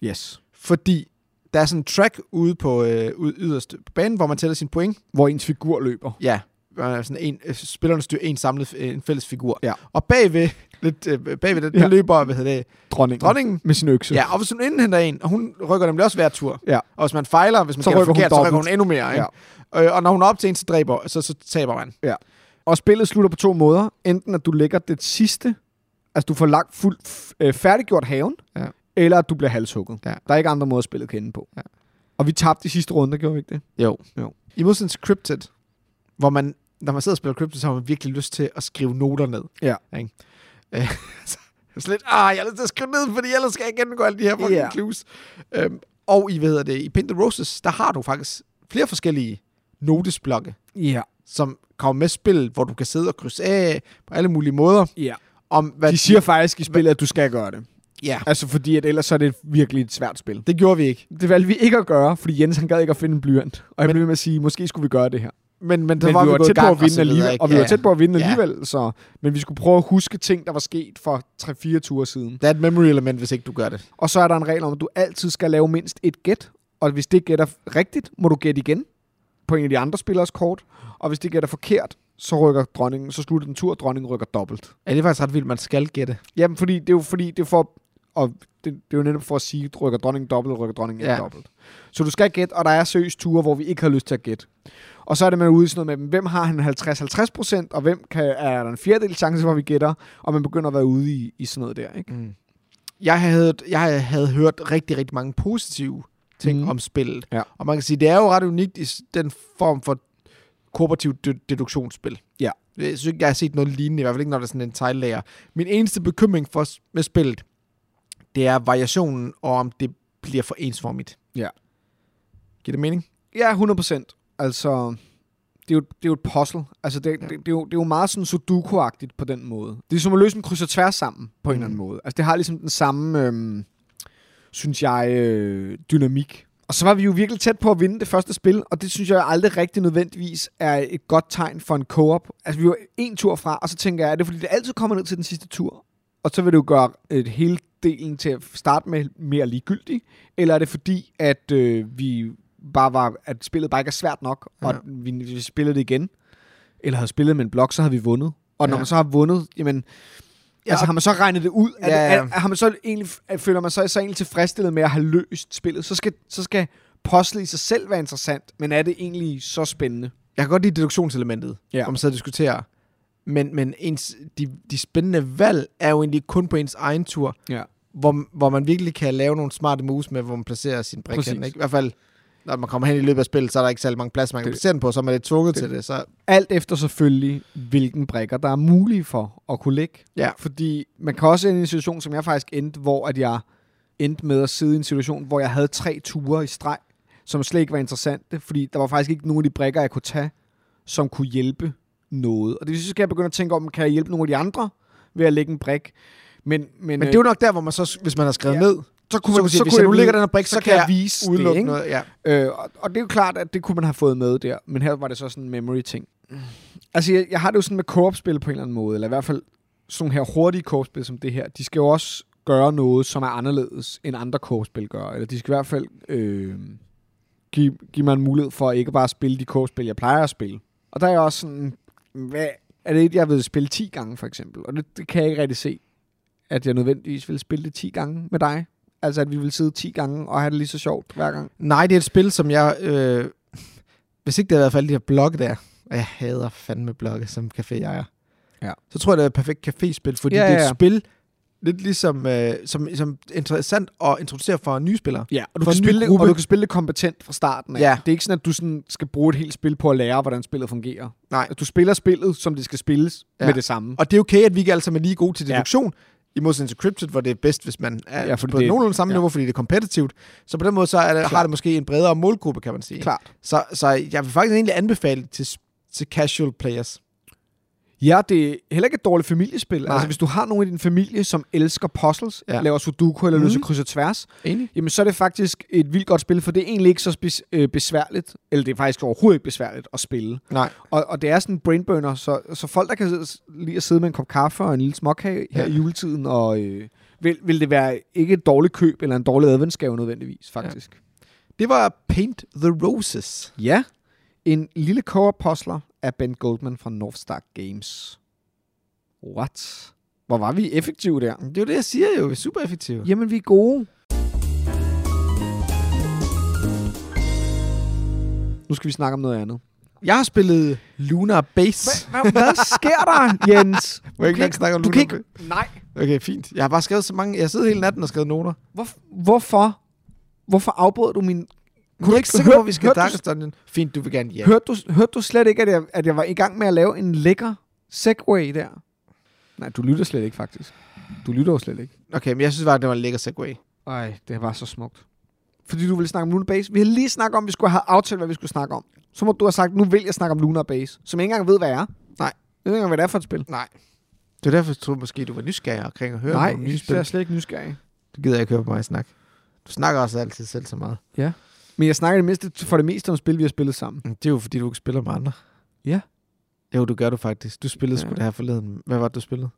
[SPEAKER 2] Yes.
[SPEAKER 1] fordi der er sådan en track ude på øh, ude yderst på banen, hvor man tæller sine point.
[SPEAKER 2] Hvor ens figur løber.
[SPEAKER 1] Ja. Man er sådan en, øh, spillerne styrer en samlet øh, en fælles figur.
[SPEAKER 2] Ja.
[SPEAKER 1] Og bagved, lidt, øh, bagved den, ja.
[SPEAKER 2] Ja. Mm.
[SPEAKER 1] der løber hvad hedder det,
[SPEAKER 2] Dronningen.
[SPEAKER 1] dronningen.
[SPEAKER 2] Med sin økse.
[SPEAKER 1] Ja, og hvis hun indhenter en, og hun rykker nemlig også hver tur.
[SPEAKER 2] Ja.
[SPEAKER 1] Og hvis man fejler, hvis man
[SPEAKER 2] Så
[SPEAKER 1] gætter
[SPEAKER 2] rykker hun
[SPEAKER 1] forkert, så rykker
[SPEAKER 2] dobbelt.
[SPEAKER 1] hun endnu mere. Ikke? Ja. Øh, og når hun er op til en, så, dræber, så, så taber man.
[SPEAKER 2] Og spillet slutter på to måder. Enten at du lægger det sidste, altså du får lagt fuldt f- øh, færdiggjort haven,
[SPEAKER 1] Ja.
[SPEAKER 2] eller at du bliver halshugget.
[SPEAKER 1] Ja.
[SPEAKER 2] Der er ikke andre måder, spillet kan ende på.
[SPEAKER 1] Ja.
[SPEAKER 2] Og vi tabte i sidste runde, gjorde vi ikke det?
[SPEAKER 1] Jo.
[SPEAKER 2] Jo.
[SPEAKER 1] I modsætning til Cryptid, hvor man, når man sidder og spiller Cryptid, så har man virkelig lyst til at skrive noter ned.
[SPEAKER 2] Ja.
[SPEAKER 1] Ikke? Øh, så så lidt, ah, jeg har lyst til at skrive ned, fordi ellers skal jeg gennemgå alle de her fucking
[SPEAKER 2] Ja.
[SPEAKER 1] yeah. clues. Øhm, og i, hvad hedder det, i Painted Roses, der har du faktisk flere forskellige notesblokke,
[SPEAKER 2] Ja,
[SPEAKER 1] som kommer med i spillet, hvor du kan sidde og krydse af på alle mulige måder.
[SPEAKER 2] ja.
[SPEAKER 1] Om hvad
[SPEAKER 2] De siger faktisk i spillet, at du skal gøre det.
[SPEAKER 1] Ja,
[SPEAKER 2] Altså fordi, at ellers så er det virkelig et svært spil.
[SPEAKER 1] det gjorde vi ikke.
[SPEAKER 2] Det valgte vi ikke at gøre, fordi Jens han gad ikke at finde en blyant. Og jeg
[SPEAKER 1] Men-
[SPEAKER 2] blev ved med at sige, måske skulle vi gøre det her.
[SPEAKER 1] Men, men, der
[SPEAKER 2] men
[SPEAKER 1] var
[SPEAKER 2] vi var
[SPEAKER 1] gået i
[SPEAKER 2] tæt på
[SPEAKER 1] gang
[SPEAKER 2] at vinde
[SPEAKER 1] så videre,
[SPEAKER 2] alligevel.
[SPEAKER 1] ikke?
[SPEAKER 2] Og vi var
[SPEAKER 1] Ja.
[SPEAKER 2] tæt på at vinde
[SPEAKER 1] Ja.
[SPEAKER 2] alligevel, så... Men vi skulle prøve at huske ting, der var sket for 3-4 ture siden.
[SPEAKER 1] Der er et memory element, hvis ikke du gør det.
[SPEAKER 2] Og så er der en regel om, at du altid skal lave mindst et gæt. Og hvis det gætter rigtigt, må du gætte igen på en af de andre spillers kort. Og hvis det gætter forkert, så rykker dronningen, så slutter den tur, og dronningen rykker dobbelt.
[SPEAKER 1] Ja, det er faktisk ret vildt, man skal gætte.
[SPEAKER 2] Jamen, fordi det er jo fordi, det er for... Og det, det, er jo netop for at sige, at rykker dronningen dobbelt, rykker dronningen ja.
[SPEAKER 1] Ja.
[SPEAKER 2] dobbelt. Så du skal gætte, og der er seriøst ture, hvor vi ikke har lyst til at gætte. Og så er det, man er ude i sådan noget med, hvem har han 50-50 procent, og hvem kan, er der en fjerdedel chance, hvor vi gætter, og man begynder at være ude i, i sådan noget der, ikke?
[SPEAKER 1] Mm. Jeg, havde, jeg havde hørt rigtig, rigtig mange positive ting
[SPEAKER 2] Mm.
[SPEAKER 1] mm. om spillet.
[SPEAKER 2] Ja.
[SPEAKER 1] Og man kan sige, det er jo ret unikt i s- den form for kooperativ de- deduktionsspil.
[SPEAKER 2] Ja.
[SPEAKER 1] Jeg synes ikke, jeg har set noget lignende, i hvert fald ikke, når der er sådan en tegllærer. Min eneste bekymring for, s- med spillet, det er variationen, og om det bliver for ensformigt.
[SPEAKER 2] Ja.
[SPEAKER 1] Giver det mening?
[SPEAKER 2] Ja, 100 procent. Altså, det er, jo, det er jo et puzzle. Altså, det, ja. det, det, er jo, det er jo meget sådan sudoku-agtigt på den måde. Det er som at løse en kryds og tværs sammen, på en eller anden
[SPEAKER 1] Mm.
[SPEAKER 2] måde. Altså, det har ligesom den samme, øhm, synes jeg, øh, dynamik. Og så var vi jo virkelig tæt på at vinde det første spil, og det synes jeg aldrig rigtig nødvendigvis er et godt tegn for en co-op. Altså, vi var en tur fra, og så tænker jeg, er det fordi, det altid kommer ned til den sidste tur? Og så vil det jo gøre et hele delen til at starte med mere ligegyldig, eller er det fordi, at øh, vi bare var, at spillet bare ikke er svært nok, og
[SPEAKER 1] Ja.
[SPEAKER 2] vi, vi spillede det igen, eller havde spillet med en blok, så havde vi vundet. Og når
[SPEAKER 1] Ja.
[SPEAKER 2] man så har vundet, jamen, ja,
[SPEAKER 1] Ja,
[SPEAKER 2] altså
[SPEAKER 1] og-
[SPEAKER 2] har man så regnet det ud? Er,
[SPEAKER 1] Ja,
[SPEAKER 2] ja,
[SPEAKER 1] ja.
[SPEAKER 2] ja. Er, er, har man så egentlig, er, føler man sig så egentlig tilfredsstillet med at have løst spillet? Så skal, så skal puzzlet i sig selv være interessant, men er det egentlig så spændende?
[SPEAKER 1] Jeg kan godt lide deduktionselementet,
[SPEAKER 2] Ja.
[SPEAKER 1] ja. hvor man sidder og diskuterer. Men, men ens, de, de spændende valg er jo egentlig kun på ens egen tur.
[SPEAKER 2] Ja.
[SPEAKER 1] hvor, hvor man virkelig kan lave nogle smarte moves med, hvor man placerer sin brik
[SPEAKER 2] Præcis.
[SPEAKER 1] hen, ikke? I hvert fald, når man kommer hen i løbet af spillet, så er der ikke særlig mange pladser, man kan
[SPEAKER 2] Det-
[SPEAKER 1] placere den på, så er man lidt tvunget
[SPEAKER 2] det-
[SPEAKER 1] til det. Så,
[SPEAKER 2] Alt efter selvfølgelig, hvilken brækker der er mulige for at kunne lægge.
[SPEAKER 1] Ja.
[SPEAKER 2] Fordi man kan også ende i en situation, som jeg faktisk endte, hvor at jeg endte med at sidde i en situation, hvor jeg havde tre ture i streg, som slet ikke var interessante, fordi der var faktisk ikke nogen af de brækker, jeg kunne tage, som kunne hjælpe noget. Og det vil sige, så skal jeg begynde at tænke om, kan jeg hjælpe nogle af de andre ved at lægge en brik? Men, men, øh,
[SPEAKER 1] men det er jo nok der, hvor man så, hvis man har skrevet
[SPEAKER 2] Ja.
[SPEAKER 1] ja. ned,
[SPEAKER 2] så
[SPEAKER 1] så kunne man sige, hvis jeg nu ligger den her brik, så, kan jeg
[SPEAKER 2] vise det,
[SPEAKER 1] udelukke
[SPEAKER 2] ikke?
[SPEAKER 1] noget. Ja.
[SPEAKER 2] Øh, og, og det er jo klart, at det kunne man have fået med der, men her var det så sådan en memory-ting. Altså, jeg, jeg har det jo sådan med co-op-spil på en eller anden måde, eller i hvert fald sådan nogle her hurtige co-op-spil som det her, de skal jo også gøre noget, som er anderledes end andre co-op-spil gør, eller de skal i hvert fald øh, give, give mig en mulighed for ikke bare at spille de co-op-spil, jeg plejer at spille. Og der er jeg også sådan, hvad, er det et, jeg vil spille 10 gange for eksempel, og det, det kan jeg ikke rigtig se, at jeg nødvendigvis vil spille det 10 gange med dig. Altså, at vi vil sidde 10 gange og have det lige så sjovt hver gang.
[SPEAKER 1] Nej, det er et spil, som jeg... Øh, hvis ikke det havde været for alle de her blogge der, og jeg hader fandme blogge som caféejer,
[SPEAKER 2] Ja.
[SPEAKER 1] så tror jeg, det er et perfekt caféspil, fordi
[SPEAKER 2] Ja,
[SPEAKER 1] det er
[SPEAKER 2] ja,
[SPEAKER 1] et
[SPEAKER 2] ja.
[SPEAKER 1] spil, lidt ligesom øh, som, som interessant at introducere for nye spillere.
[SPEAKER 2] Ja, og du,
[SPEAKER 1] For
[SPEAKER 2] kan
[SPEAKER 1] en ny
[SPEAKER 2] spille, det-
[SPEAKER 1] gruppe.
[SPEAKER 2] og du kan spille det kompetent fra starten af.
[SPEAKER 1] Ja.
[SPEAKER 2] Det er ikke sådan, at du sådan skal bruge et helt spil på at lære, hvordan spillet fungerer.
[SPEAKER 1] Nej.
[SPEAKER 2] At du spiller spillet, som det skal spilles,
[SPEAKER 1] Ja.
[SPEAKER 2] ja. med det samme.
[SPEAKER 1] Og det er okay, at vi ikke alle sammen er lige gode til
[SPEAKER 2] Ja.
[SPEAKER 1] deduktion. I modsætning til Cryptid, hvor det er bedst, hvis man er ja,
[SPEAKER 2] Ja, fordi
[SPEAKER 1] på
[SPEAKER 2] det-
[SPEAKER 1] det, nogenlunde samme
[SPEAKER 2] ja.
[SPEAKER 1] niveau, fordi det er kompetitivt. Så på den måde så er det, har
[SPEAKER 2] Klart.
[SPEAKER 1] det måske en bredere målgruppe, kan man sige.
[SPEAKER 2] Klart.
[SPEAKER 1] Så, så jeg vil faktisk egentlig anbefale det til, til casual players.
[SPEAKER 2] Ja, det er heller ikke et dårligt familiespil.
[SPEAKER 1] Nej.
[SPEAKER 2] Altså, hvis du har nogen i din familie, som elsker puzzles,
[SPEAKER 1] Ja.
[SPEAKER 2] ja. laver sudoku eller mm. løser
[SPEAKER 1] Mhm.
[SPEAKER 2] kryds og tværs,
[SPEAKER 1] Enig.
[SPEAKER 2] jamen så er det faktisk et vildt godt spil, for det er egentlig ikke så spes- øh, besværligt, eller det er faktisk overhovedet ikke besværligt at spille.
[SPEAKER 1] Nej.
[SPEAKER 2] Og, og det er sådan en brainburner, så, så folk, der kan sidde- lide at sidde med en kop kaffe og en lille småkage her
[SPEAKER 1] Ja.
[SPEAKER 2] i juletiden, og øh, vil, vil det være ikke et dårligt køb eller en dårlig adventsgave nødvendigvis, faktisk.
[SPEAKER 1] Det var Paint the Roses.
[SPEAKER 2] Ja. ja. En lille co-apostler af Ben Goldman fra Northstar Games. What? Hvor var vi effektive der?
[SPEAKER 1] Det er jo det, jeg siger jo. Vi er super effektive.
[SPEAKER 2] Jamen, vi er gode. Nu skal vi snakke om noget andet.
[SPEAKER 1] Jeg har spillet Lunar Base.
[SPEAKER 2] Hvad sker der, Jens?
[SPEAKER 1] Må jeg ikke engang snakke om
[SPEAKER 2] du
[SPEAKER 1] Lunar
[SPEAKER 2] kan ikke... Nej.
[SPEAKER 1] Base? Okay, fint. Jeg har bare skrevet så mange... Jeg sidder hele natten og skrevet noter.
[SPEAKER 2] Hvor, hvorfor? Hvorfor afbrød du min...
[SPEAKER 1] Kunne du ikke sikker,
[SPEAKER 2] Hør-
[SPEAKER 1] hvor vi skal
[SPEAKER 2] hørte du-
[SPEAKER 1] Darkest Dungeon? Fint, du vil gerne ja.
[SPEAKER 2] Hørte du, hørte du slet ikke, at jeg, at jeg var i gang med at lave en lækker segway der? Nej, du lytter slet ikke, faktisk. Du lytter jo slet ikke.
[SPEAKER 1] Okay, men jeg synes bare, det var en lækker segway.
[SPEAKER 2] Ej, det var så smukt. Fordi du ville snakke om Lunar Base. Vi havde lige snakket om, at vi skulle have aftalt, hvad vi skulle snakke om. Så må du have sagt, nu vil jeg snakke om Lunar Base, som jeg ikke engang ved, hvad er.
[SPEAKER 1] Nej.
[SPEAKER 2] Jeg ved ikke engang, hvad det er for et spil.
[SPEAKER 1] Nej. Det var derfor, jeg troede måske, du var nysgerrig omkring at høre
[SPEAKER 2] Nej,
[SPEAKER 1] om nye
[SPEAKER 2] jeg
[SPEAKER 1] spil.
[SPEAKER 2] er slet ikke nysgerrig.
[SPEAKER 1] Det gider jeg ikke høre på mig snakke. Du snakker også altid selv så meget.
[SPEAKER 2] Men jeg snakker det meste, for det meste om spil, vi har spillet sammen.
[SPEAKER 1] Det er jo, fordi du ikke spiller med andre.
[SPEAKER 2] Ja.
[SPEAKER 1] Jo, du gør du faktisk. Du spillede ja.
[SPEAKER 2] Ja.
[SPEAKER 1] sgu det her forleden. Hvad var det, du spillede?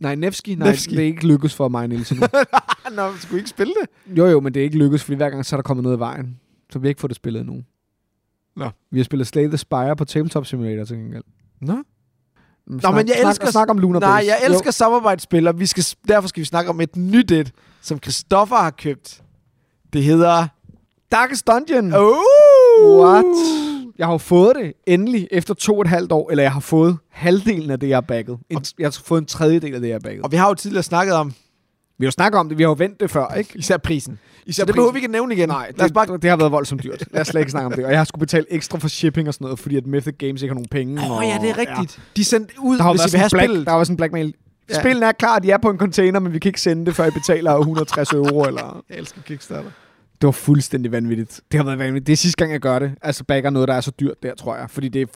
[SPEAKER 2] Nej, Nevsky, nej,
[SPEAKER 1] Nevsky.
[SPEAKER 2] Nevsky. det er ikke lykkedes for mig, Nielsen.
[SPEAKER 1] Ah, Nå, skulle ikke spille det?
[SPEAKER 2] jo, jo, men det er ikke lykkedes, fordi hver gang så er der kommet noget i vejen. Så vi har ikke fået det spillet endnu.
[SPEAKER 1] Nå.
[SPEAKER 2] Vi har spillet Slay the Spire på Tabletop Simulator til gengæld.
[SPEAKER 1] Nå.
[SPEAKER 2] Nå,
[SPEAKER 1] men jeg elsker-
[SPEAKER 2] Snak, snak om Lunar
[SPEAKER 1] Nej,
[SPEAKER 2] Base.
[SPEAKER 1] jeg
[SPEAKER 2] Jo.
[SPEAKER 1] elsker jo. samarbejdsspil, og vi skal, s- derfor skal vi snakke om et nyt et, som Christoffer har købt. Det hedder...
[SPEAKER 2] Darkest Dungeon.
[SPEAKER 1] Oh!
[SPEAKER 2] What? Jeg har jo fået det endelig efter to og et halvt år, eller jeg har fået halvdelen af det, jeg har bagget. En, jeg har fået en tredjedel af det, jeg har bagget.
[SPEAKER 1] Og vi har jo tidligere snakket om
[SPEAKER 2] Vi har jo snakket om det, vi har jo vendt det før, ikke?
[SPEAKER 1] især prisen.
[SPEAKER 2] Især
[SPEAKER 1] Så det behøver vi ikke at nævne igen.
[SPEAKER 2] Nej, det,
[SPEAKER 1] Lad os bare...
[SPEAKER 2] det, det har været voldsomt dyrt. Lad os slet ikke snakke om det. Og jeg har skulle betale ekstra for shipping og sådan noget, fordi at Mythic Games ikke har nogen penge.
[SPEAKER 1] Åh
[SPEAKER 2] og,
[SPEAKER 1] oh, ja, det er rigtigt. Ja. De sendte ud,
[SPEAKER 2] Der har jo
[SPEAKER 1] hvis I
[SPEAKER 2] været
[SPEAKER 1] vil have
[SPEAKER 2] sådan black,
[SPEAKER 1] spillet.
[SPEAKER 2] der var sådan en blackmail.
[SPEAKER 1] Ja.
[SPEAKER 2] Ja. Spillene er klar, de er på en container, men vi kan ikke sende det, før I betaler 160 euro. Eller...
[SPEAKER 1] Jeg elsker Kickstarter.
[SPEAKER 2] Det var fuldstændig vanvittigt. Det har været vanvittigt. Det er sidste gang, jeg gør det. Altså, bagger noget, der er så dyrt der, tror jeg. Fordi det er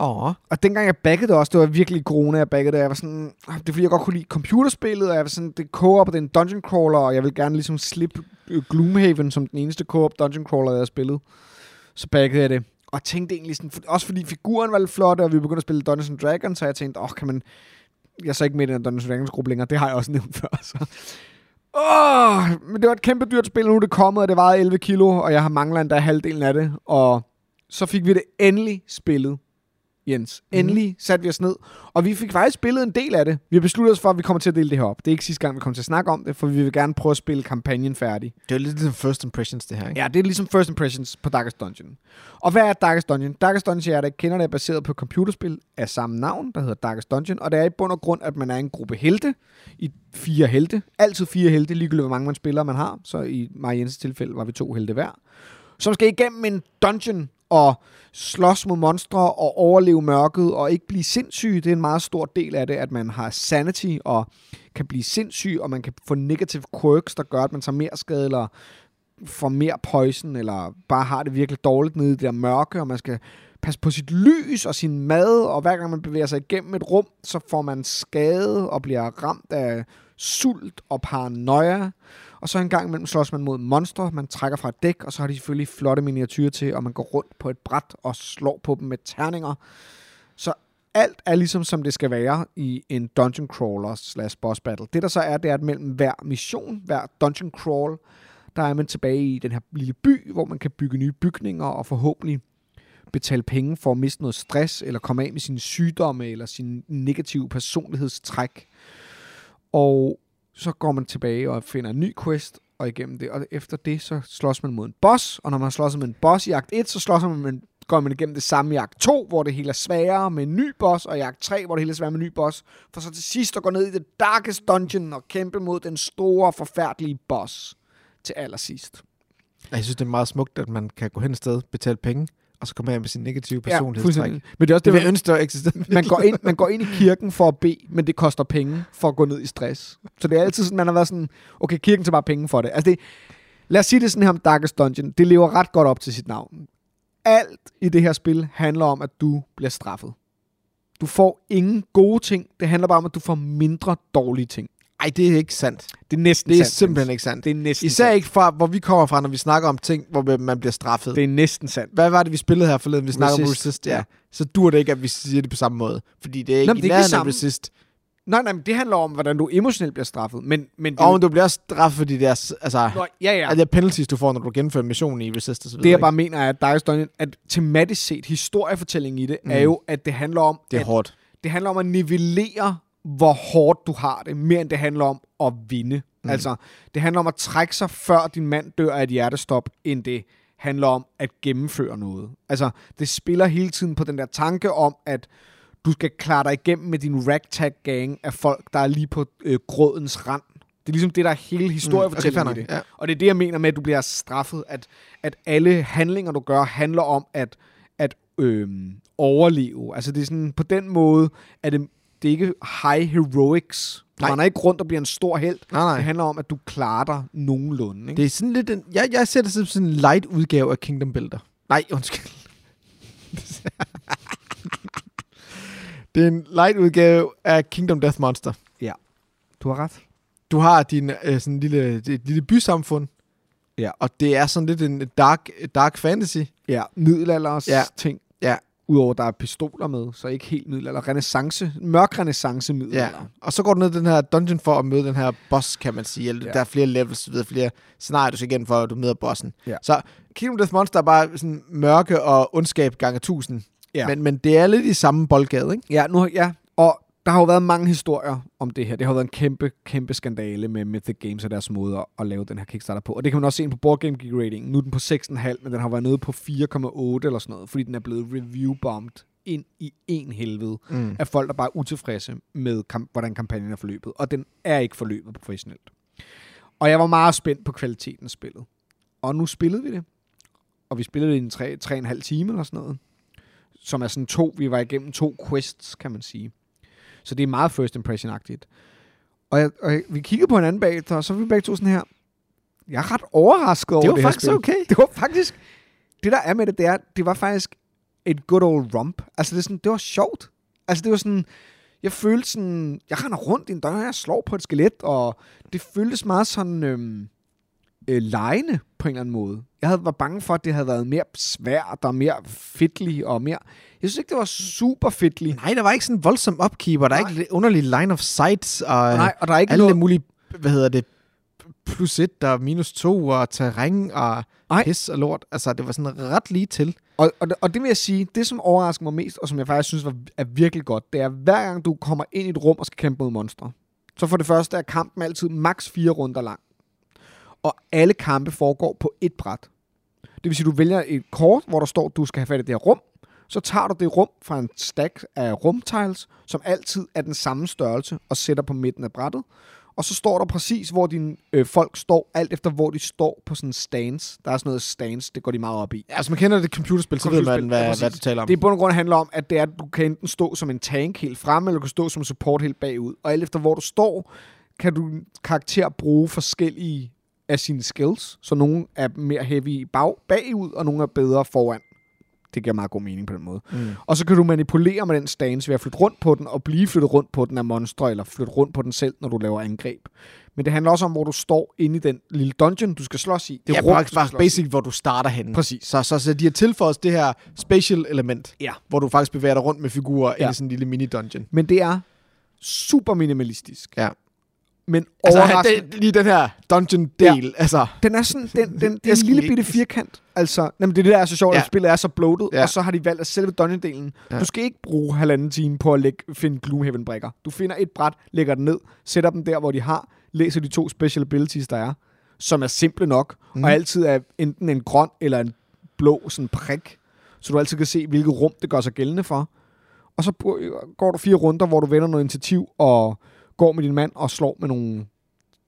[SPEAKER 1] Åh. Oh.
[SPEAKER 2] Og dengang jeg baggede det også, det var virkelig corona, jeg baggede det. Jeg var sådan, "Ah, det er fordi, jeg godt kunne lide computerspillet, og jeg var sådan, det er co-op, og det er en dungeon crawler, og jeg vil gerne ligesom slippe øh, Gloomhaven som den eneste co-op dungeon crawler, jeg har spillet. Så baggede jeg det. Og tænkte egentlig sådan, for, også fordi figuren var lidt flot, og vi begyndte at spille Dungeons and Dragons, så jeg tænkte, åh, kan man... Jeg er så ikke med i den her Dungeons and Dragons gruppe længere, det har jeg også nævnt før, så... Åh, men det var et kæmpe dyrt spil, og nu er det kommet, og det vejede 11 kilo, og jeg har mangler endda halvdelen af det, og så fik vi det endelig spillet. Jens.
[SPEAKER 1] Mhm.
[SPEAKER 2] Endelig satte vi os ned. Og vi fik faktisk spillet en del af det. Vi har besluttet os for, at vi kommer til at dele det her op. Det er ikke sidste gang, vi kommer til at snakke om det, for vi vil gerne prøve at spille kampagnen færdig.
[SPEAKER 1] Det er jo lidt ligesom first impressions, det her, ikke?
[SPEAKER 2] Ja, det er ligesom First Impressions på Darkest Dungeon. Og hvad er Darkest Dungeon? Darkest Dungeon, til jer der ikke kender det, er baseret på et computerspil af samme navn, der hedder Darkest Dungeon. Og det er i bund og grund, at man er en gruppe helte i fire helte. Altid fire helte, ligegyldigt hvor mange man spiller man har. Så i Maja Jensens tilfælde var vi to helte hver. Som skal igennem en dungeon og slås mod monstre og overleve mørket og ikke blive sindssyg. Det er en meget stor del af det, at man har sanity og kan blive sindssyg, og man kan få negative quirks, der gør, at man tager mere skade eller får mere poison, eller bare har det virkelig dårligt nede i det der mørke, og man skal passe på sit lys og sin mad, og hver gang man bevæger sig igennem et rum, så får man skade og bliver ramt af sult og paranoia. Og så en gang imellem slås man mod monstre, man trækker fra et dæk, og så har de selvfølgelig flotte miniatyrer til, og man går rundt på et bræt og slår på dem med terninger. Så alt er ligesom som det skal være i en dungeon crawler slash boss battle. Det der så er, det er, at mellem hver mission, hver dungeon crawl, der er man tilbage i den her lille by, hvor man kan bygge nye bygninger og forhåbentlig betale penge for at miste noget stress, eller komme af med sine sygdomme, eller sin negative personlighedstræk. Og så går man tilbage og finder en ny quest, og igennem det. Og efter det, så slås man mod en boss, og når man slås med en boss i akt 1, så slås man med en går man igennem det samme i akt 2, hvor det hele er sværere med en ny boss, og i akt 3, hvor det hele er sværere med en ny boss, for så til sidst at gå ned i det darkest dungeon og kæmpe mod den store, forfærdelige boss til allersidst.
[SPEAKER 1] Jeg synes, det er meget smukt, at man kan gå hen et sted, betale penge, og så komme af med sin negative personlighedstræk.
[SPEAKER 2] Men det er også
[SPEAKER 1] det
[SPEAKER 2] det,
[SPEAKER 1] vil
[SPEAKER 2] det
[SPEAKER 1] jeg ønske, der eksisterede.
[SPEAKER 2] man, går ind, man går ind i kirken for at bede, men det koster penge for at gå ned i stress. Så det er altid sådan, man har været sådan, okay, kirken tager bare penge for det. Altså det, lad os sige det sådan her om Darkest Dungeon. Det lever ret godt op til sit navn. Alt i det her spil handler om, at du bliver straffet. Du får ingen gode ting. Det handler bare om, at du får mindre dårlige ting.
[SPEAKER 1] Ej, det er ikke sandt.
[SPEAKER 2] Det er næsten
[SPEAKER 1] Det er
[SPEAKER 2] sandt,
[SPEAKER 1] simpelthen
[SPEAKER 2] Niels.
[SPEAKER 1] ikke sandt.
[SPEAKER 2] Det er næsten
[SPEAKER 1] Især
[SPEAKER 2] sandt.
[SPEAKER 1] ikke fra, hvor vi kommer fra, når vi snakker om ting, hvor man bliver straffet.
[SPEAKER 2] Det er næsten sandt.
[SPEAKER 1] Hvad var det, vi spillede her forleden? Vi snakker om
[SPEAKER 2] Resist.
[SPEAKER 1] Resist, ja.
[SPEAKER 2] Ja.
[SPEAKER 1] Så dur det ikke, at vi siger det på samme måde. Fordi det er ikke
[SPEAKER 2] Nå, men
[SPEAKER 1] i
[SPEAKER 2] det er ikke
[SPEAKER 1] nærheden
[SPEAKER 2] det
[SPEAKER 1] af
[SPEAKER 2] samme.
[SPEAKER 1] Resist.
[SPEAKER 2] Nej, nej, men det handler om, hvordan du emotionelt bliver straffet. Men, men det,
[SPEAKER 1] Og men du bliver også straffet for de der, s- altså,
[SPEAKER 2] Nå, ja, ja.
[SPEAKER 1] ja. de der penalties, du får, når du gennemfører missionen i Resist osv.
[SPEAKER 2] Det jeg bare mener er, at Dire Dungeon, at tematisk set, historiefortællingen i det, mm. er jo, at det handler om,
[SPEAKER 1] det er
[SPEAKER 2] at,
[SPEAKER 1] hårdt.
[SPEAKER 2] det handler om at nivellere, hvor hårdt du har det, mere end det handler om at vinde. Mm. Altså, det handler om at trække sig, før din mand dør af et hjertestop, end det handler om at gennemføre noget. Altså, det spiller hele tiden på den der tanke om, at du skal klare dig igennem med din ragtag gang af folk, der er lige på øh, grådens rand. Det er ligesom det, der er hele historiefortællingen
[SPEAKER 1] fair
[SPEAKER 2] mm, okay, i
[SPEAKER 1] nok,
[SPEAKER 2] det.
[SPEAKER 1] ja.
[SPEAKER 2] Og det er det, jeg mener med, at du bliver straffet, at, at alle handlinger, du gør, handler om at, at øh, overleve. Altså det er sådan, på den måde, at det, det er ikke high heroics. Du
[SPEAKER 1] Nej.
[SPEAKER 2] render ikke rundt og bliver en stor held.
[SPEAKER 1] Nej, nej.
[SPEAKER 2] Det handler om, at du klarer dig nogenlunde. Ikke?
[SPEAKER 1] Det er sådan lidt en, jeg, jeg ser det som sådan en light udgave af Kingdom Builder. Nej, undskyld. det er en light udgave af Kingdom Death Monster.
[SPEAKER 2] Du har ret.
[SPEAKER 1] Du har din øh, sådan lille, det, lille bysamfund.
[SPEAKER 2] Ja.
[SPEAKER 1] Og det er sådan lidt en dark, dark fantasy.
[SPEAKER 2] Ja, middelalders
[SPEAKER 1] Ja.
[SPEAKER 2] ja. ting.
[SPEAKER 1] Ja.
[SPEAKER 2] Udover, der er pistoler med, så ikke helt middelalder. Renaissance, mørk renaissance middelalder. Ja.
[SPEAKER 1] Og så går du ned i den her dungeon for at møde den her boss, kan man sige. Eller, ja.
[SPEAKER 2] Ja.
[SPEAKER 1] Der er flere levels, ved flere scenarier, du skal igennem for, at du møder bossen.
[SPEAKER 2] Ja.
[SPEAKER 1] Så Kingdom Death Monster er bare sådan mørke og ondskab gange tusind.
[SPEAKER 2] Ja.
[SPEAKER 1] Men, men det er lidt i samme boldgade, ikke?
[SPEAKER 2] Ja, nu, ja, og der har jo været mange historier om det her. Det har jo været en kæmpe, kæmpe skandale med Mythic Games og deres måde at- at lave den her Kickstarter på. Og det kan man også se ind på Board Game Geek Rating. Nu er den på 6,5, men den har været nede på 4,8 eller sådan noget, fordi den er blevet review-bombed ind i en helvede
[SPEAKER 1] Mm.
[SPEAKER 2] af folk, der bare er utilfredse med, kamp- hvordan kampagnen er forløbet. Og den er ikke forløbet professionelt. Og jeg var meget spændt på kvaliteten af spillet. Og nu spillede vi det. Og vi spillede det i en tre, tre og en halv time eller sådan noget. Som er sådan to, vi var igennem to quests, kan man sige. Så det er meget first impression-agtigt. Og, jeg, og jeg, vi kiggede på hinanden bagefter, og så var vi begge to sådan her. Jeg er ret overrasket over
[SPEAKER 1] Det
[SPEAKER 2] det
[SPEAKER 1] var
[SPEAKER 2] her
[SPEAKER 1] faktisk
[SPEAKER 2] spil.
[SPEAKER 1] okay.
[SPEAKER 2] Det var faktisk... Det der er med det, det er, det var faktisk et good old romp. Altså det, er sådan, det var sjovt. Altså det var sådan, jeg følte sådan, jeg render rundt i en dør, og jeg slår på et skelet, og det føltes meget sådan øhm, øh, lejende på en eller anden måde. Jeg havde, var bange for, at det havde været mere svært og mere fedtlig og mere... Jeg synes ikke, det var super fedtlig.
[SPEAKER 1] Nej, der var ikke sådan en voldsom upkeep, og der er
[SPEAKER 2] Nej.
[SPEAKER 1] ikke lidt underlig line of sight, og
[SPEAKER 2] Nej,
[SPEAKER 1] Nej,
[SPEAKER 2] og der er ikke
[SPEAKER 1] alle
[SPEAKER 2] noget...
[SPEAKER 1] mulige, hvad hedder det, plus et og minus to, og terræn og
[SPEAKER 2] Nej.
[SPEAKER 1] pis og lort. Altså, det var sådan ret lige til.
[SPEAKER 2] Og, og, det- og det vil jeg sige, det som overrasker mig mest, og som jeg faktisk synes var, er virkelig godt, det er, hver gang du kommer ind i et rum og skal kæmpe mod monstre, så for det første er kampen altid maks fire runder lang. Og alle kampe foregår på et bræt. Det vil sige, du vælger et kort, hvor der står, du skal have fat i det her rum, så tager du det rum fra en stack af rumtiles, som altid er den samme størrelse, og sætter på midten af brættet. Og så står der præcis, hvor dine øh, folk står, alt efter hvor de står på sådan en stance. Der er sådan noget stance, det går de meget op i.
[SPEAKER 1] Ja, hvis Altså, man kender det computerspil, så ved man,
[SPEAKER 2] Computerspil,
[SPEAKER 1] hvad,
[SPEAKER 2] ja,
[SPEAKER 1] ja,
[SPEAKER 2] præcis.
[SPEAKER 1] hvad du taler om.
[SPEAKER 2] Det i bund og grund handler om, at det er, at du kan enten stå som en tank helt fremme, eller du kan stå som support helt bagud. Og alt efter hvor du står, kan du karakter bruge forskellige af sine skills. Så nogle er mere heavy i bag, bagud, og nogle er bedre foran. Det giver meget god mening på den måde. Mm. Og så kan du manipulere med den stance ved at flytte rundt på den, og blive flyttet rundt på den af monstre, eller flytte rundt på den selv, når du laver angreb. Men det handler også om, hvor du står inde i den lille dungeon, du skal slås i.
[SPEAKER 1] det er
[SPEAKER 2] rum,
[SPEAKER 1] ja,
[SPEAKER 2] du skal
[SPEAKER 1] faktisk
[SPEAKER 2] slås i.
[SPEAKER 1] basic, hvor du starter henne.
[SPEAKER 2] Præcis.
[SPEAKER 1] Så, så, så de har tilføjet det her spatial element,
[SPEAKER 2] Ja.
[SPEAKER 1] hvor du faktisk bevæger dig rundt med figurer ja.
[SPEAKER 2] Ja.
[SPEAKER 1] i sådan en lille mini-dungeon.
[SPEAKER 2] Men det er super minimalistisk.
[SPEAKER 1] Ja.
[SPEAKER 2] Men
[SPEAKER 1] Altså,
[SPEAKER 2] overraskende.
[SPEAKER 1] det, lige den her dungeon-del. Ja. Altså,
[SPEAKER 2] den er sådan, den, den, den
[SPEAKER 1] Æsken
[SPEAKER 2] lille
[SPEAKER 1] ikke.
[SPEAKER 2] bitte firkant. Altså, jamen, det er det, der er så sjovt,
[SPEAKER 1] Ja.
[SPEAKER 2] ja. at spillet er så bloated,
[SPEAKER 1] Ja.
[SPEAKER 2] ja. og så har de valgt, at selve dungeon-delen,
[SPEAKER 1] Ja.
[SPEAKER 2] ja. du skal ikke bruge halvanden time på at lægge, finde Gloomhaven-brikker. Du finder et bræt, lægger den ned, sætter dem der, hvor de har, læser de to special abilities, der er,
[SPEAKER 1] Mhm.
[SPEAKER 2] som er simple nok, mm. og altid er enten en grøn eller en blå sådan prik, så du altid kan se, hvilket rum det gør sig gældende for. Og så br- går du fire runder, hvor du vender noget initiativ og går med din mand og slår med nogle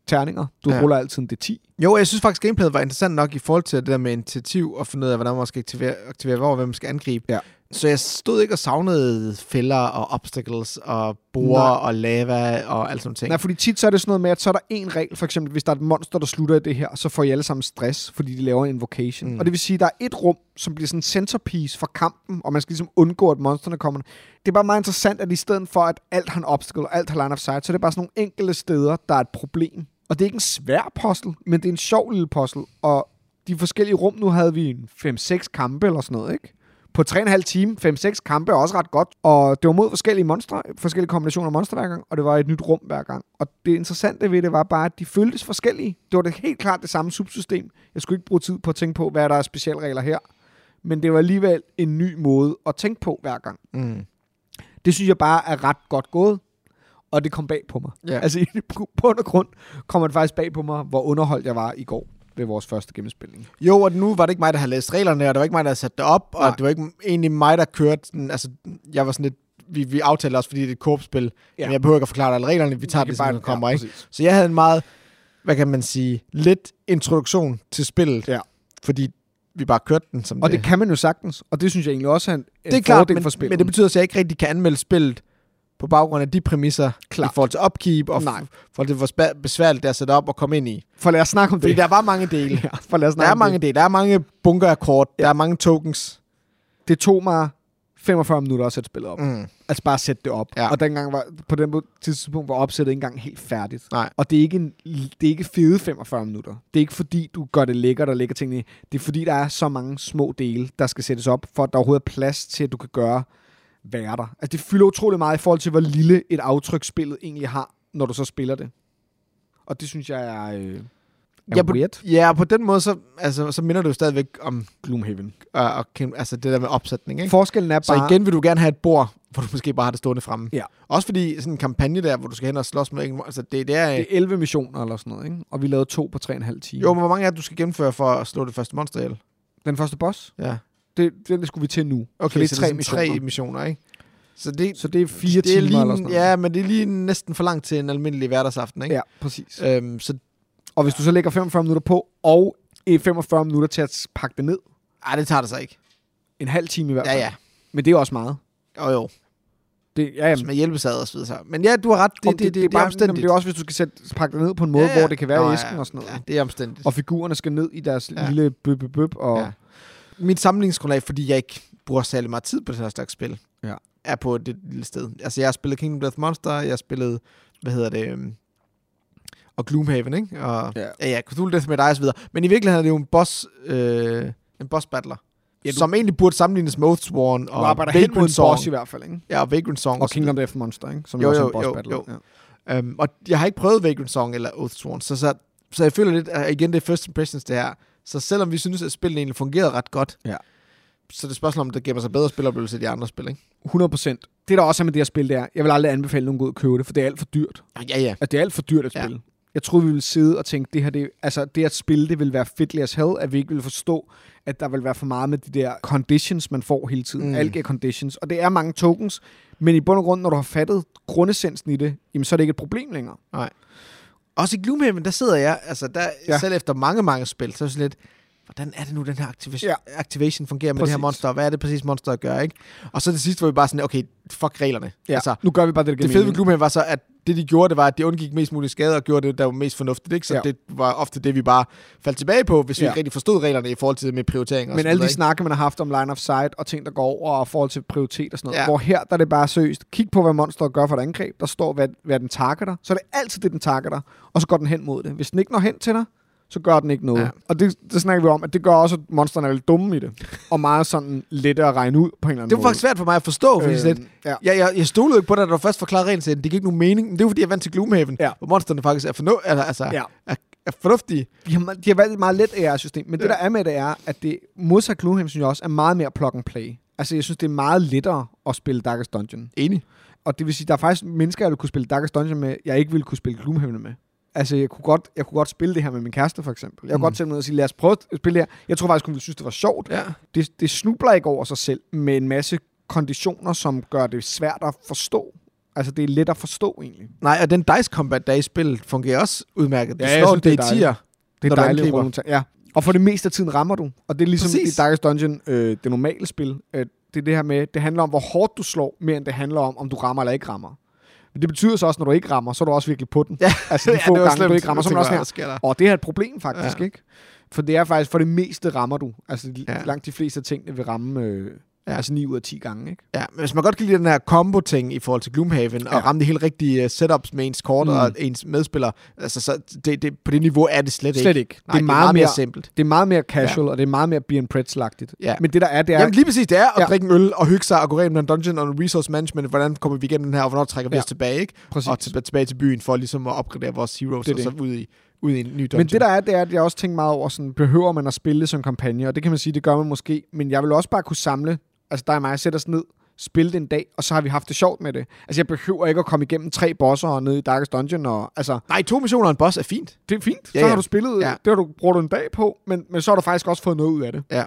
[SPEAKER 2] terninger. Du
[SPEAKER 1] Ja.
[SPEAKER 2] ja. ruller altid en D10.
[SPEAKER 1] Jo, jeg synes faktisk, gameplayet var interessant nok i forhold til det der med initiativ og finde ud af, hvordan man skal aktivere, aktivere hvor, og hvem man skal angribe.
[SPEAKER 2] Ja.
[SPEAKER 1] Så jeg stod ikke og savnede fælder og obstacles og borer
[SPEAKER 2] Nej.
[SPEAKER 1] og lava og alt sådan nogle ting.
[SPEAKER 2] Nej, fordi tit så er det sådan noget med, at så er der en regel, for eksempel hvis der er et monster, der slutter i det her, så får I alle sammen stress, fordi de laver en invocation.
[SPEAKER 1] Mm.
[SPEAKER 2] Mm. Og det vil sige, at der er et rum, som bliver sådan en centerpiece for kampen, og man skal ligesom undgå, at monsterne kommer. Det er bare meget interessant, at i stedet for, at alt har en obstacle, og alt har line of sight, så er det bare sådan nogle enkelte steder, der er et problem. Og det er ikke en svær puzzle, men det er en sjov lille puzzle. Og de forskellige rum, nu havde vi en 5-6 kampe eller sådan noget, ikke? På 3,5 time, 5-6 kampe er også ret godt. Og det var mod forskellige monstre, forskellige kombinationer af monstre hver gang, og det var et nyt rum hver gang. Og det interessante ved det var bare, at de føltes forskellige. Det var det helt klart det samme subsystem. Jeg skulle ikke bruge tid på at tænke på, hvad der er specialregler her. Men det var alligevel en ny måde at tænke på hver gang.
[SPEAKER 1] Mm.
[SPEAKER 2] Det synes jeg bare er ret godt gået, og det kom bag på mig.
[SPEAKER 1] Ja.
[SPEAKER 2] Altså i bund og grund kom det faktisk bag på mig, hvor underholdt jeg var i går ved vores første gennemspilning.
[SPEAKER 1] Jo, og nu var det ikke mig, der havde læst reglerne, og det var ikke mig, der havde sat det op, og
[SPEAKER 2] Nej.
[SPEAKER 1] det var ikke egentlig mig, der kørte den. Altså, jeg var sådan lidt, vi, vi aftalte også, fordi det er et korpsspil, ja.
[SPEAKER 2] Ja.
[SPEAKER 1] men jeg behøver ikke at forklare alle reglerne, vi tager
[SPEAKER 2] Vi
[SPEAKER 1] det,
[SPEAKER 2] kan
[SPEAKER 1] som
[SPEAKER 2] bare-
[SPEAKER 1] det kommer,
[SPEAKER 2] ja,
[SPEAKER 1] ikke?
[SPEAKER 2] præcis.
[SPEAKER 1] Så jeg havde en meget, hvad kan man sige, lidt introduktion til spillet,
[SPEAKER 2] Ja.
[SPEAKER 1] fordi vi bare kørte den som
[SPEAKER 2] Og det kan man jo sagtens, og det synes jeg egentlig også er en, en
[SPEAKER 1] det er klart,
[SPEAKER 2] fordel
[SPEAKER 1] men,
[SPEAKER 2] for spillet.
[SPEAKER 1] men det betyder så, at jeg ikke rigtig kan anmelde spillet på baggrund af de præmisser klart. i forhold til upkeep, og
[SPEAKER 2] Nej.
[SPEAKER 1] f- forhold til, hvor spa- besværligt det er at sætte op og komme ind i.
[SPEAKER 2] for lad os snakke om
[SPEAKER 1] Fordi
[SPEAKER 2] det.
[SPEAKER 1] der var mange dele.
[SPEAKER 2] ja, for lad os
[SPEAKER 1] Der
[SPEAKER 2] snakke
[SPEAKER 1] er
[SPEAKER 2] om
[SPEAKER 1] mange dele. Der er mange bunker af kort. Ja. Der er mange tokens.
[SPEAKER 2] Det. det tog mig 45 minutter at sætte spillet op. Mm.
[SPEAKER 1] Mm.
[SPEAKER 2] Altså bare at sætte det op.
[SPEAKER 1] Ja.
[SPEAKER 2] Og dengang var, på den tidspunkt var opsættet ikke engang helt færdigt.
[SPEAKER 1] Nej.
[SPEAKER 2] Og det er, ikke en, det er ikke fede 45 minutter. Det er ikke fordi, du gør det lækkert og lægger tingene i. Det er fordi, der er så mange små dele, der skal sættes op, for at der overhovedet er plads til, at du kan gøre være der. Altså det fylder utrolig meget i forhold til, hvor lille et aftryk spillet egentlig har, når du så spiller det. Og det synes jeg er, øh, er
[SPEAKER 1] Ja,
[SPEAKER 2] ja,
[SPEAKER 1] på-
[SPEAKER 2] weird.
[SPEAKER 1] Ja, og på den måde, så, altså, så minder du jo stadigvæk om
[SPEAKER 2] Gloomhaven.
[SPEAKER 1] øh, og, ken- altså, det der med opsætning. Ikke?
[SPEAKER 2] Forskellen er bare...
[SPEAKER 1] Så igen vil du gerne have et bord, hvor du måske bare har det stående fremme.
[SPEAKER 2] Ja.
[SPEAKER 1] Også fordi sådan en kampagne der, hvor du skal hen og slås med... en- Altså, det, det er,
[SPEAKER 2] Det er 11 missioner eller sådan noget, ikke? Og vi lavede to på 3,5 timer.
[SPEAKER 1] Jo, men hvor mange er det, du skal gennemføre for at slå det første monster ihjel?
[SPEAKER 2] Den første boss,
[SPEAKER 1] Ja.
[SPEAKER 2] det, den skulle vi til nu.
[SPEAKER 1] Okay,
[SPEAKER 2] så det er tre
[SPEAKER 1] sådan
[SPEAKER 2] missioner.
[SPEAKER 1] tre missioner, ikke? Så det,
[SPEAKER 2] Så det er fire
[SPEAKER 1] Altså, det er
[SPEAKER 2] timer eller
[SPEAKER 1] lige,
[SPEAKER 2] sådan
[SPEAKER 1] Ja, men det er lige næsten for langt til en almindelig hverdagsaften, ikke?
[SPEAKER 2] ja, præcis.
[SPEAKER 1] Ja. Øhm, så
[SPEAKER 2] Og hvis du så lægger 45 minutter på, og øh, 45 minutter til at pakke det ned,
[SPEAKER 1] ej, det tager det sig ikke.
[SPEAKER 2] en halv time i hvert
[SPEAKER 1] Ja,
[SPEAKER 2] fald.
[SPEAKER 1] ja.
[SPEAKER 2] Men det er også meget.
[SPEAKER 1] Jo, jo.
[SPEAKER 2] Det, ja,
[SPEAKER 1] Hvis
[SPEAKER 2] jamen.
[SPEAKER 1] man hjælpesager og så videre. så- Men ja, du har ret. Det,
[SPEAKER 2] Om
[SPEAKER 1] det, det, det, det er
[SPEAKER 2] bare,
[SPEAKER 1] bare
[SPEAKER 2] jamen,
[SPEAKER 1] omstændigt.
[SPEAKER 2] det er også, hvis du skal sætte, pakke det ned på en måde, ja, ja. hvor det kan være Nå, i æsken ja, og sådan noget.
[SPEAKER 1] Ja,
[SPEAKER 2] Ja.
[SPEAKER 1] det er omstændigt.
[SPEAKER 2] Og figurerne skal ned i deres
[SPEAKER 1] Ja.
[SPEAKER 2] ja. lille bøb, bøb, bøb og
[SPEAKER 1] Ja. Mit sammenligningsgrundlag, fordi jeg ikke bruger særlig meget tid på den her slags spil,
[SPEAKER 2] Ja.
[SPEAKER 1] er på det lille sted. Altså, jeg har spillet Kingdom Death Monster, jeg har spillet, hvad hedder det, øhm, og Gloomhaven, ikke? Og,
[SPEAKER 2] Ja.
[SPEAKER 1] ja, ja Cthulhu Death Made og så videre. Men i virkeligheden er det jo en boss, øh, en boss battler, ja,
[SPEAKER 2] Ja,
[SPEAKER 1] du,
[SPEAKER 2] du-
[SPEAKER 1] som egentlig burde sammenlignes med Oathsworn
[SPEAKER 2] du
[SPEAKER 1] og
[SPEAKER 2] arbejder helt mod
[SPEAKER 1] Vagrant
[SPEAKER 2] en boss i
[SPEAKER 1] Song.
[SPEAKER 2] hvert fald, ikke?
[SPEAKER 1] Ja, og Vagrant Song.
[SPEAKER 2] Og
[SPEAKER 1] så
[SPEAKER 2] Kingdom Death Monster, ikke? Som
[SPEAKER 1] Jo,
[SPEAKER 2] jo, også er
[SPEAKER 1] jo,
[SPEAKER 2] en boss
[SPEAKER 1] jo,
[SPEAKER 2] battle.
[SPEAKER 1] jo.
[SPEAKER 2] Ja.
[SPEAKER 1] Øhm, og jeg har ikke prøvet Vagrant Song eller Oathsworn, så, så, så jeg føler lidt, at igen, det er first impressions, det her. Så selvom vi synes, at spillet egentlig fungerede ret godt,
[SPEAKER 2] Ja.
[SPEAKER 1] så er det er spørgsmål, om det gemmer sig bedre spiloplevelse i de andre spil, ikke?
[SPEAKER 2] 100%. Det, der også er med det her spil, det er, jeg vil aldrig anbefale nogen at gå ud og købe det, for det er alt for dyrt.
[SPEAKER 1] Ja, ja.
[SPEAKER 2] At det er alt for dyrt at
[SPEAKER 1] Ja.
[SPEAKER 2] spille. Jeg troede, vi ville sidde og tænke, det her, det, altså det at spille, det ville være fedt as hell, at vi ikke ville forstå, at der vil være for meget med de der conditions, man får hele tiden.
[SPEAKER 1] Mm.
[SPEAKER 2] Mm. Alge conditions. Og det er mange tokens, men i bund og grund, når du har fattet grundessensen i det, jamen, så er det ikke et problem længere.
[SPEAKER 1] Også i Gloomhaven, der sidder jeg, altså der, ja.
[SPEAKER 2] Ja.
[SPEAKER 1] selv efter mange, mange spil, så er jeg sådan lidt, hvordan er det nu, den her activation, ja.
[SPEAKER 2] Ja.
[SPEAKER 1] activation fungerer med det
[SPEAKER 2] Præcis.
[SPEAKER 1] her monster, og hvad er det præcis monster gør, ikke? Og så til sidst var vi bare sådan, okay, fuck reglerne.
[SPEAKER 2] Ja.
[SPEAKER 1] Altså,
[SPEAKER 2] Altså, nu gør vi bare det, der giver
[SPEAKER 1] det fede ved
[SPEAKER 2] mening.
[SPEAKER 1] Gloomhaven var så, at det de gjorde, det var, at de undgik mest muligt skade og gjorde det, der var mest fornuftigt, ikke? Så ja.
[SPEAKER 2] Ja.
[SPEAKER 1] det var ofte det, vi bare faldt tilbage på, hvis vi
[SPEAKER 2] Ja.
[SPEAKER 1] ikke rigtig forstod reglerne i forhold til det med prioriteringer. og
[SPEAKER 2] Men
[SPEAKER 1] sådan
[SPEAKER 2] alle de
[SPEAKER 1] noget, ikke?
[SPEAKER 2] snakke, man har haft om line of sight og ting, der går over og forhold til prioritet og sådan noget.
[SPEAKER 1] Ja.
[SPEAKER 2] Ja. Hvor her, der er det bare seriøst. Kig på, hvad monsteret gør for et angreb. Der står, hvad, hvad den targeter. Så er det altid det, den targeter. Og så går den hen mod det. Hvis den ikke når hen til dig, så gør den ikke noget.
[SPEAKER 1] Ja.
[SPEAKER 2] Ja. Og det, det snakker vi om, at det gør også, at monsterne er lidt dumme i det. Og meget sådan lette at regne ud på en eller anden
[SPEAKER 1] det var
[SPEAKER 2] måde. Øhm,
[SPEAKER 1] faktisk svært for mig at forstå, fordi sådan lidt,
[SPEAKER 2] ja.
[SPEAKER 1] Jeg, jeg, jeg stolede ikke på dig, da du først forklarede rent til, det gik ikke nogen mening, men det er jo fordi, jeg er vant til Gloomhaven,
[SPEAKER 2] Ja.
[SPEAKER 1] hvor monsterne faktisk er, fornu- eller, altså, ja.
[SPEAKER 2] Ja.
[SPEAKER 1] er, er fornuftige.
[SPEAKER 2] De har, me- de har valgt et meget let AR-system, men ja. det
[SPEAKER 1] Ja.
[SPEAKER 2] der er med det er, at det modsat Gloomhaven, synes jeg også, er meget mere plug and play. Altså, jeg synes, det er meget lettere at spille Darkest Dungeon.
[SPEAKER 1] Enig.
[SPEAKER 2] Og det vil sige, der er faktisk mennesker, jeg ville kunne spille Darkest Dungeon med, jeg ikke ville kunne spille Gloomhaven med. altså, jeg kunne, godt, jeg kunne godt spille det her med min kæreste, for eksempel. Jeg kunne mm. godt sætte mig ned og sige, lad os prøve at spille det her. Jeg tror faktisk, hun ville synes, det var sjovt.
[SPEAKER 1] Ja.
[SPEAKER 2] Det, det snubler ikke over sig selv med en masse konditioner, som gør det svært at forstå. Altså, det er let at forstå, egentlig.
[SPEAKER 1] Nej, og den dice combat, der er i spillet, fungerer også udmærket. Du
[SPEAKER 2] Ja,
[SPEAKER 1] ja,
[SPEAKER 2] jeg
[SPEAKER 1] slår
[SPEAKER 2] synes, det er
[SPEAKER 1] det i tier.
[SPEAKER 2] Det
[SPEAKER 1] Når
[SPEAKER 2] er
[SPEAKER 1] du
[SPEAKER 2] dejligt at
[SPEAKER 1] angriber.
[SPEAKER 2] runde Ja. Og for det meste af tiden rammer du. Og det er ligesom
[SPEAKER 1] Præcis.
[SPEAKER 2] Præcis. i Darkest Dungeon, øh, det normale spil. Øh, det er det her med, det handler om, hvor hårdt du slår, mere end det handler om, om du rammer eller ikke rammer. Men det betyder så også, når du ikke rammer, så er du også virkelig på den.
[SPEAKER 1] Ja,
[SPEAKER 2] altså de få gange, du ikke rammer, så er man også sådan her,
[SPEAKER 1] hvad sker der?
[SPEAKER 2] Og det er et problem faktisk,
[SPEAKER 1] Ja.
[SPEAKER 2] ja. ikke? For det er faktisk, for det meste rammer du. Altså
[SPEAKER 1] Ja.
[SPEAKER 2] ja. langt de fleste af tingene vil ramme øh,
[SPEAKER 1] Ja.
[SPEAKER 2] ja. altså 9 ud af 10 gange, ikke?
[SPEAKER 1] Ja, men hvis man godt kan lide den her combo-ting i forhold til Gloomhaven, ja. og
[SPEAKER 2] Ja.
[SPEAKER 1] ramme det helt rigtige øh, setups med ens kort mm.
[SPEAKER 2] Mm.
[SPEAKER 1] og ens medspiller, altså så det, det, på det niveau er det slet, ikke.
[SPEAKER 2] ikke.
[SPEAKER 1] Nej, det er meget, mere simpelt.
[SPEAKER 2] det er meget mere casual, ja. og det er meget mere beer and pretz-lagtigt.
[SPEAKER 1] Ja.
[SPEAKER 2] Men det der er, det er...
[SPEAKER 1] Jamen lige præcis, det er at ja.
[SPEAKER 2] Ja.
[SPEAKER 1] drikke en øl og hygge sig og gå rent med en dungeon og resource management. Hvordan kommer vi igennem den her, og hvornår trækker vi
[SPEAKER 2] Ja.
[SPEAKER 1] os tilbage, ikke?
[SPEAKER 2] præcis.
[SPEAKER 1] Og til, tilbage til byen for ligesom at opgradere vores heroes
[SPEAKER 2] Det
[SPEAKER 1] det
[SPEAKER 2] er
[SPEAKER 1] og så ud i, ud i en ny dungeon.
[SPEAKER 2] Men det der er, det er, at jeg også tænker meget over, sådan, behøver man at spille som kampagne? Og det kan man sige, det gør man måske. Men jeg vil også bare kunne samle, altså dig og mig, sætte os ned, spille det en dag, og så har vi haft det sjovt med det. Altså jeg behøver ikke at komme igennem tre bosser og ned i Darkest Dungeon. Og, altså,
[SPEAKER 1] Nej, to missioner og en boss er fint.
[SPEAKER 2] det er fint.
[SPEAKER 1] Ja,
[SPEAKER 2] så
[SPEAKER 1] ja.
[SPEAKER 2] har du spillet,
[SPEAKER 1] Ja.
[SPEAKER 2] ja. det har du brugt en dag på, men, men så har du faktisk også fået noget ud af det.
[SPEAKER 1] Ja.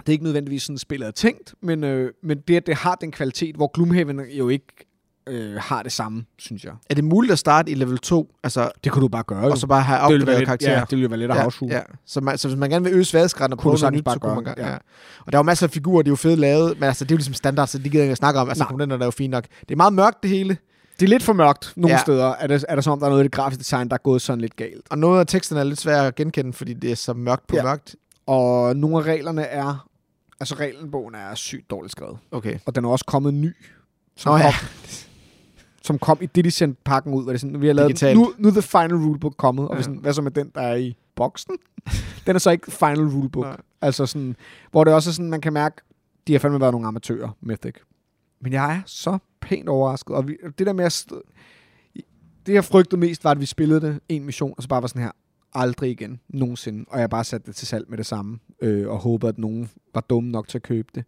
[SPEAKER 2] Det er ikke nødvendigvis sådan, spillet er tænkt, men, øh, men det, at det har den kvalitet, hvor Gloomhaven jo ikke øh, har det samme, synes jeg.
[SPEAKER 1] Er det muligt at starte i level 2, altså,
[SPEAKER 2] Det kunne du bare gøre,
[SPEAKER 1] og så bare have
[SPEAKER 2] det ville være
[SPEAKER 1] opgraderet
[SPEAKER 2] lidt, ja,
[SPEAKER 1] karakterer?
[SPEAKER 2] det ville jo være lidt at afsuge.
[SPEAKER 1] ja. Så, man, så hvis man gerne vil øge sværhedsgraden og
[SPEAKER 2] Kunne
[SPEAKER 1] prøve
[SPEAKER 2] du
[SPEAKER 1] noget
[SPEAKER 2] sagtens
[SPEAKER 1] nyt,
[SPEAKER 2] bare
[SPEAKER 1] så kunne man
[SPEAKER 2] gøre,
[SPEAKER 1] gøre. Ja.
[SPEAKER 2] ja.
[SPEAKER 1] Ja. Og der er jo masser af figurer, de er jo fedt lavet, men altså, det er jo ligesom standard, så det gider jeg ikke snakke om. Altså,
[SPEAKER 2] Nej.
[SPEAKER 1] komponenterne er jo fint nok. Det er meget mørkt, det hele.
[SPEAKER 2] Det er lidt for mørkt nogle
[SPEAKER 1] Ja.
[SPEAKER 2] ja. steder. Er det, er der som om, der er noget i det grafiske design, der er gået sådan lidt galt.
[SPEAKER 1] Og noget af teksterne er lidt svært at genkende, fordi det er så mørkt på ja.
[SPEAKER 2] Ja.
[SPEAKER 1] mørkt.
[SPEAKER 2] Og nogle af reglerne er... Altså, regelbogen er sygt dårligt skrevet.
[SPEAKER 1] Okay.
[SPEAKER 2] Og den er også kommet ny. Som,
[SPEAKER 1] Nå ja.
[SPEAKER 2] kom, som kom i det, de sendte pakken ud. Var det sådan, vi har lavet den.
[SPEAKER 1] Digitalt.
[SPEAKER 2] nu, nu er The Final Rulebook kommet. Og
[SPEAKER 1] Ja.
[SPEAKER 2] ja. sådan, hvad så med den, der er i boksen? den er så ikke Final Rulebook.
[SPEAKER 1] Nej.
[SPEAKER 2] Nej. Altså sådan, hvor det også er sådan, man kan mærke, de har fandme været nogle amatører, Mythic. Men jeg er så pænt overrasket. Og vi, det der med at... St- det jeg frygtede mest var, at vi spillede det en mission, og så bare var sådan her, aldrig igen, nogensinde. Og jeg bare satte det til salg med det samme, øh, og håbede, at nogen var dumme nok til at købe det.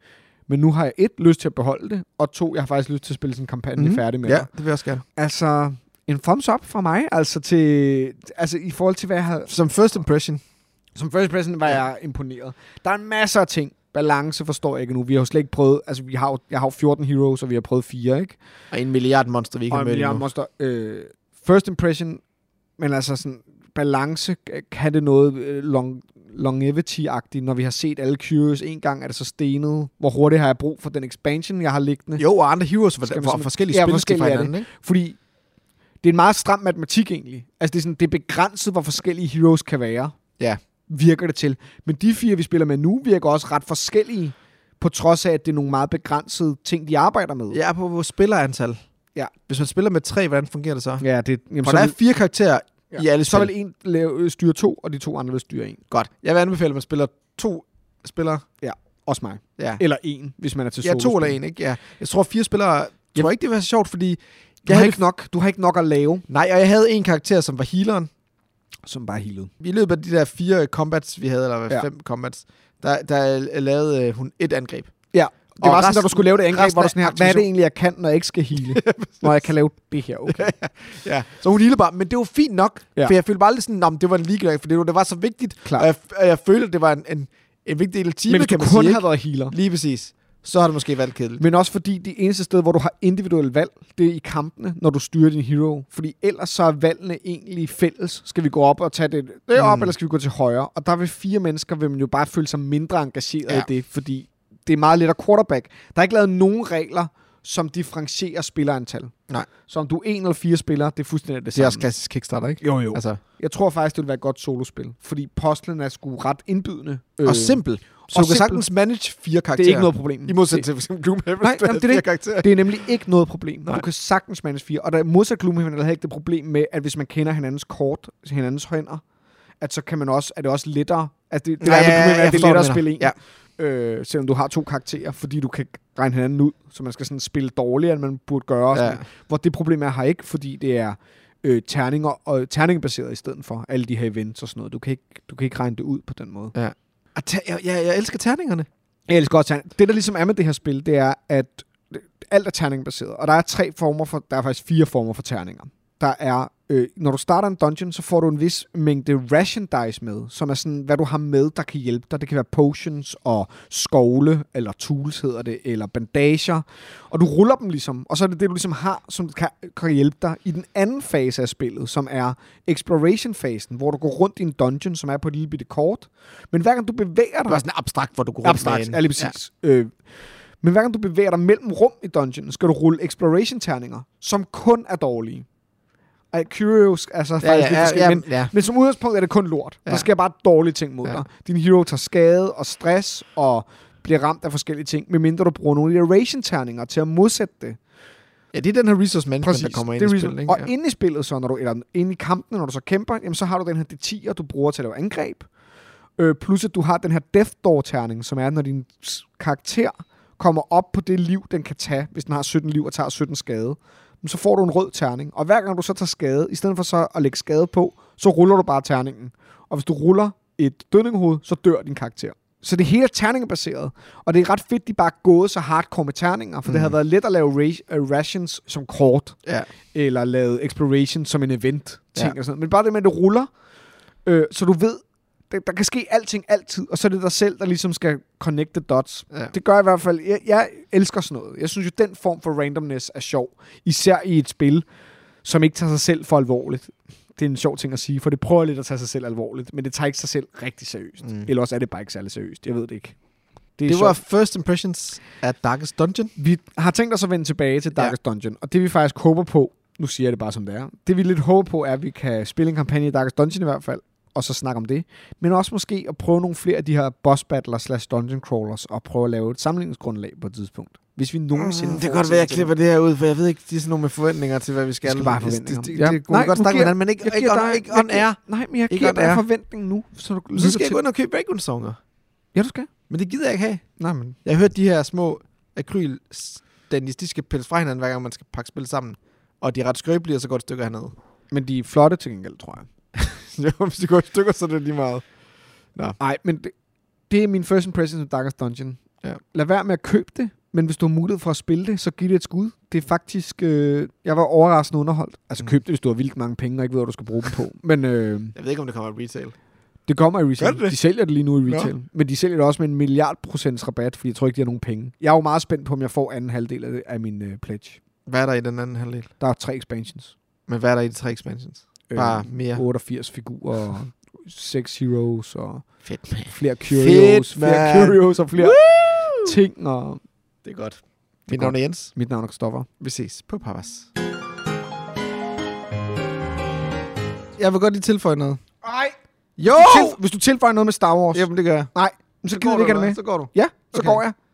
[SPEAKER 2] Men nu har jeg et, lyst til at beholde det, og to, jeg har faktisk lyst til at spille sådan en kampagne
[SPEAKER 1] Mhm.
[SPEAKER 2] mm-hmm. færdig med
[SPEAKER 1] Ja,
[SPEAKER 2] det.
[SPEAKER 1] det vil jeg også gerne.
[SPEAKER 2] Altså, en thumbs up fra mig, altså, til, altså i forhold til, hvad jeg havde...
[SPEAKER 1] Som first impression.
[SPEAKER 2] Som first person var
[SPEAKER 1] Ja.
[SPEAKER 2] jeg imponeret. Der er en masse af ting. Balance forstår jeg ikke nu. Vi har jo slet ikke prøvet... Altså, vi har, jo- jeg har jo 14 heroes, og vi har prøvet fire, ikke?
[SPEAKER 1] Og en milliard monster, vi ikke
[SPEAKER 2] og
[SPEAKER 1] har
[SPEAKER 2] en
[SPEAKER 1] mødt
[SPEAKER 2] milliard
[SPEAKER 1] endnu.
[SPEAKER 2] monster. Øh, first impression, men altså sådan balance, øh, kan det noget øh, long, longevity-agtigt, når vi har set alle Curious en gang, er det så stenet? Hvor hurtigt har jeg brug for den expansion, jeg har liggende?
[SPEAKER 1] Jo, og andre heroes for,
[SPEAKER 2] Skal man
[SPEAKER 1] for
[SPEAKER 2] sådan-
[SPEAKER 1] forskellige
[SPEAKER 2] Ja,
[SPEAKER 1] spil
[SPEAKER 2] forskellige
[SPEAKER 1] fra
[SPEAKER 2] er det.
[SPEAKER 1] hinanden, ikke?
[SPEAKER 2] Fordi det er en meget stram matematik egentlig. Altså det er, sådan, det er begrænset, hvor forskellige heroes kan være.
[SPEAKER 1] Ja.
[SPEAKER 2] Virker det til. Men de fire, vi spiller med nu, virker også ret forskellige, på trods af, at det er nogle meget begrænsede ting, de arbejder med.
[SPEAKER 1] Ja, på vores spillerantal.
[SPEAKER 2] Ja.
[SPEAKER 1] Hvis man spiller med tre, hvordan fungerer det så? Jamen,
[SPEAKER 2] ja det, jamen,
[SPEAKER 1] for
[SPEAKER 2] så,
[SPEAKER 1] der er
[SPEAKER 2] vil,
[SPEAKER 1] fire karakterer ja.
[SPEAKER 2] Ja.
[SPEAKER 1] i alle
[SPEAKER 2] så
[SPEAKER 1] spil.
[SPEAKER 2] vil en lave, øh, styre to, og de to andre vil styre en.
[SPEAKER 1] Godt. Jeg vil anbefale, at man spiller to spillere.
[SPEAKER 2] Også mig.
[SPEAKER 1] Ja,
[SPEAKER 2] Eller en, hvis man er til
[SPEAKER 1] ja to
[SPEAKER 2] solospil.
[SPEAKER 1] eller en, ikke? Ja. Jeg tror, fire spillere... Jeg tror ikke, det vil være så sjovt, fordi...
[SPEAKER 2] Du
[SPEAKER 1] Jeg
[SPEAKER 2] har,
[SPEAKER 1] havde
[SPEAKER 2] ikke nok, du har ikke nok at lave,
[SPEAKER 1] Nej, og jeg havde en karakter, som var healeren.
[SPEAKER 2] som bare healede.
[SPEAKER 1] I løbet af de der fire combats, vi havde, eller hvad,
[SPEAKER 2] Ja.
[SPEAKER 1] fem combats, der, der lavede øh, hun et angreb.
[SPEAKER 2] Ja, det
[SPEAKER 1] Og
[SPEAKER 2] var sådan,
[SPEAKER 1] resten-
[SPEAKER 2] at du skulle lave det angreb,
[SPEAKER 1] resten
[SPEAKER 2] hvor du
[SPEAKER 1] af
[SPEAKER 2] sådan her, hvad er det
[SPEAKER 1] aktivation-
[SPEAKER 2] egentlig, jeg kan, når jeg ikke skal heale? når jeg kan lave det her, okay.
[SPEAKER 1] Ja, så hun healede bare, men det var fint nok, ja.
[SPEAKER 2] Ja.
[SPEAKER 1] for jeg følte bare lidt sådan, om det var en ligegyldig, for det var, det var så vigtigt,
[SPEAKER 2] Klart.
[SPEAKER 1] og jeg, og jeg følte, at det var en, en, en vigtig del af
[SPEAKER 2] Men
[SPEAKER 1] teamet,
[SPEAKER 2] hvis
[SPEAKER 1] kan
[SPEAKER 2] du
[SPEAKER 1] man
[SPEAKER 2] kun
[SPEAKER 1] sige,
[SPEAKER 2] har været healer,
[SPEAKER 1] ikke? Lige præcis. Så har det måske været kedeligt.
[SPEAKER 2] Men også fordi det eneste sted, hvor du har individuel valg, det er i kampene, når du styrer din hero. Fordi ellers så er valgene egentlig fælles. Skal vi gå op og tage det, det
[SPEAKER 1] Mm.
[SPEAKER 2] op, mm. eller skal vi gå til højre? Og der vil fire mennesker, vil man jo bare føle sig mindre engageret
[SPEAKER 1] Ja.
[SPEAKER 2] ja. i det, fordi det er meget lidt af quarterback. Der er ikke lavet nogen regler, som differentierer spillerantal.
[SPEAKER 1] Nej.
[SPEAKER 2] Så om du er en eller fire spillere, det er fuldstændig det
[SPEAKER 1] Det er
[SPEAKER 2] samme.
[SPEAKER 1] også klassisk Kickstarter, ikke?
[SPEAKER 2] Jo, jo. Altså,
[SPEAKER 1] Altså,
[SPEAKER 2] jeg tror faktisk, det vil være et godt solospil, fordi postlen er sgu ret indbydende.
[SPEAKER 1] og simpel. Så
[SPEAKER 2] Øh. og
[SPEAKER 1] du kan
[SPEAKER 2] simpel.
[SPEAKER 1] sagtens manage fire karakterer.
[SPEAKER 2] det er ikke noget problem.
[SPEAKER 1] I modsætning til for eksempel Gloomhaven,
[SPEAKER 2] Nej,
[SPEAKER 1] der er
[SPEAKER 2] jamen, det er
[SPEAKER 1] fire
[SPEAKER 2] det.
[SPEAKER 1] karakterer.
[SPEAKER 2] Det er nemlig ikke noget problem.
[SPEAKER 1] Nej.
[SPEAKER 2] Nej. Du kan sagtens manage fire. Og der modsat Gloomhaven er der heller ikke det problem med, at hvis man kender hinandens kort, hinandens hænder, at så kan man også, er det også lettere. Altså det, det,
[SPEAKER 1] Ja,
[SPEAKER 2] der er med
[SPEAKER 1] ja, ja,
[SPEAKER 2] Gloomhaven, er,
[SPEAKER 1] jeg
[SPEAKER 2] at det er
[SPEAKER 1] forstår,
[SPEAKER 2] lettere at
[SPEAKER 1] hvad du
[SPEAKER 2] spille en.
[SPEAKER 1] mener.
[SPEAKER 2] Øh, selvom du har to karakterer, fordi du kan regne hinanden ud, så man skal sådan spille dårligere, end man burde gøre.
[SPEAKER 1] Ja.
[SPEAKER 2] Ja. Hvor det problem er her ikke, fordi det er øh, terninger og terningbaseret i stedet for alle de her events og sådan noget. Du kan ikke, du kan ikke regne det ud på den måde.
[SPEAKER 1] Og ta- jeg, jeg, jeg elsker terningerne.
[SPEAKER 2] Jeg elsker også terning. Det, der ligesom er med det her spil, det er, at alt er terningbaseret. Og der er tre former for, der er faktisk fire former for terninger. Der er øh, når du starter en dungeon, så får du en vis mængde ration dice med, som er sådan, hvad du har med, der kan hjælpe dig. Det kan være potions og skovle, eller tools hedder det, eller bandager. Og du ruller dem ligesom, og så er det det, du ligesom har, som kan, kan hjælpe dig i den anden fase af spillet, som er exploration-fasen, hvor du går rundt i en dungeon, som er på et lille bitte kort. Men hver gang du bevæger
[SPEAKER 1] Det
[SPEAKER 2] dig...
[SPEAKER 1] var sådan abstrakt, hvor du kunne
[SPEAKER 2] Abstrakt, ja, lige præcis. Ja. Øh, men hver gang du bevæger dig mellem rum i dungeonen, skal du rulle exploration-terninger, som kun er dårlige. Ej, Curious, altså ja, faktisk ja, lidt forskelligt,
[SPEAKER 1] ja,
[SPEAKER 2] men,
[SPEAKER 1] ja.
[SPEAKER 2] men som udgangspunkt er det kun lort. Ja.
[SPEAKER 1] Ja.
[SPEAKER 2] Der sker bare dårlige ting mod ja.
[SPEAKER 1] Ja.
[SPEAKER 2] dig. Din hero tager skade og stress og bliver ramt af forskellige ting, medmindre du bruger nogle iteration-terninger til at modsætte det.
[SPEAKER 1] ja, det er den her resource management,
[SPEAKER 2] Præcis.
[SPEAKER 1] der kommer ind
[SPEAKER 2] det er
[SPEAKER 1] i
[SPEAKER 2] reason-
[SPEAKER 1] spillet.
[SPEAKER 2] Og
[SPEAKER 1] ja.
[SPEAKER 2] inde i spillet, så, når du, eller inde i kampen, når du så kæmper, jamen, så har du den her D10'er, du bruger til at lave angreb. Øh, plus at du har den her Death Door-terning, som er, når din s- karakter kommer op på det liv, den kan tage, hvis den har 17 liv og tager 17 skade. Men så får du en rød terning, og hver gang du så tager skade, i stedet for så at lægge skade på, så ruller du bare terningen. Og hvis du ruller et dødninghoved, så dør din karakter. Så det hele er terningebaseret, og det er ret fedt, de bare er gået så hardcore med terninger, for mm. det har været let at lave ra- øh, rations som kort
[SPEAKER 1] ja.
[SPEAKER 2] eller lavet exploration som en event ting ja.
[SPEAKER 1] Ja.
[SPEAKER 2] og sådan noget. Men bare det med, at det ruller, øh, så du ved, der, der kan ske alting altid, og så er det dig selv, der ligesom skal connect the dots.
[SPEAKER 1] Ja.
[SPEAKER 2] Det gør jeg i hvert fald. Jeg, jeg elsker sådan noget. Jeg synes jo, den form for randomness er sjov. Især i et spil, som ikke tager sig selv for alvorligt. Det er en sjov ting at sige, for det prøver lidt at tage sig selv alvorligt, men det tager ikke sig selv rigtig seriøst. Mm.
[SPEAKER 1] Mm.
[SPEAKER 2] Eller også er det bare ikke særlig seriøst. Jeg ved det ikke. er
[SPEAKER 1] Det
[SPEAKER 2] sjovt.
[SPEAKER 1] var First Impressions af Darkest Dungeon.
[SPEAKER 2] Vi har tænkt os at vende tilbage til Darkest ja. Dungeon, og det vi faktisk håber på, nu siger jeg det bare som det er, det vi lidt håber på er, at vi kan spille en kampagne i Darkest Dungeon i hvert fald, og så snakke om det, men også måske at prøve nogle flere af de her boss battlers slash dungeon crawlers, og prøve at lave et sammenligningsgrundlag på et tidspunkt. Hvis vi nogensinde...
[SPEAKER 1] Mm, det kan godt være, at jeg klipper det her ud, for jeg ved ikke, de er sådan nogle med forventninger til, hvad vi skal.
[SPEAKER 2] skal bare have
[SPEAKER 1] Det-
[SPEAKER 2] forventninger.
[SPEAKER 1] Det, det,
[SPEAKER 2] Ja.
[SPEAKER 1] det, det kunne
[SPEAKER 2] Nej,
[SPEAKER 1] vi godt
[SPEAKER 2] nu
[SPEAKER 1] snakke med
[SPEAKER 2] giver-
[SPEAKER 1] hinanden, men ikke, ikke, on, ikke on air.
[SPEAKER 2] Nej, men jeg
[SPEAKER 1] Ikke
[SPEAKER 2] giver
[SPEAKER 1] on air.
[SPEAKER 2] dig forventning nu, så du
[SPEAKER 1] Så skal jeg gå
[SPEAKER 2] til.
[SPEAKER 1] ind og købe baconsonger.
[SPEAKER 2] Ja, du skal.
[SPEAKER 1] Men det gider jeg ikke have.
[SPEAKER 2] Nej, men...
[SPEAKER 1] Jeg har hørt de her små akryl Dennis, de skal pilles fra hinanden, hver gang man skal pakke spil sammen. Og de er ret skrøbelige, og så går det stykker hernede.
[SPEAKER 2] Men de er flotte til gengæld, tror jeg.
[SPEAKER 1] jo, hvis de går i stykker, så er det lige meget.
[SPEAKER 2] Nej, men det, det er min first impression af Darkest Dungeon.
[SPEAKER 1] Ja.
[SPEAKER 2] Lad være med at købe det, men hvis du har mulighed for at spille det, så giv det et skud. Det er faktisk... Øh, jeg var overraskende underholdt. Altså
[SPEAKER 1] Mm.
[SPEAKER 2] køb det, hvis du har vildt mange penge og ikke ved, hvad du skal bruge dem på. Men øh,
[SPEAKER 1] Jeg ved ikke, om det kommer i retail.
[SPEAKER 2] det kommer i retail.
[SPEAKER 1] Gør det det?
[SPEAKER 2] De sælger det lige nu i
[SPEAKER 1] Nå.
[SPEAKER 2] retail. Men de sælger det også med en milliard procents rabat, fordi jeg tror ikke, de har nogen penge. Jeg er jo meget spændt på, om jeg får anden halvdel af, det, af min øh, pledge.
[SPEAKER 1] Hvad er der i den anden halvdel?
[SPEAKER 2] Der er tre expansions.
[SPEAKER 1] Men hvad er der i de tre expansions? Bare mere.
[SPEAKER 2] Øh, 88 figurer, og 6 heroes og
[SPEAKER 1] Fedt, man.
[SPEAKER 2] flere curios, flere
[SPEAKER 1] mand.
[SPEAKER 2] curios og flere ting. Og
[SPEAKER 1] Det er godt.
[SPEAKER 2] er
[SPEAKER 1] Mit navn er Jens.
[SPEAKER 2] Mit navn er Kristoffer.
[SPEAKER 1] Vi ses på Papas. Jeg vil godt lige tilføje noget.
[SPEAKER 2] Nej.
[SPEAKER 1] Jo!
[SPEAKER 2] Hvis du tilføjer noget med Star Wars, yep.
[SPEAKER 1] Jamen, det gør jeg.
[SPEAKER 2] jamen, så gider vi ikke have det med.
[SPEAKER 1] Så går du.
[SPEAKER 2] Ja, så
[SPEAKER 1] Okay.
[SPEAKER 2] går jeg.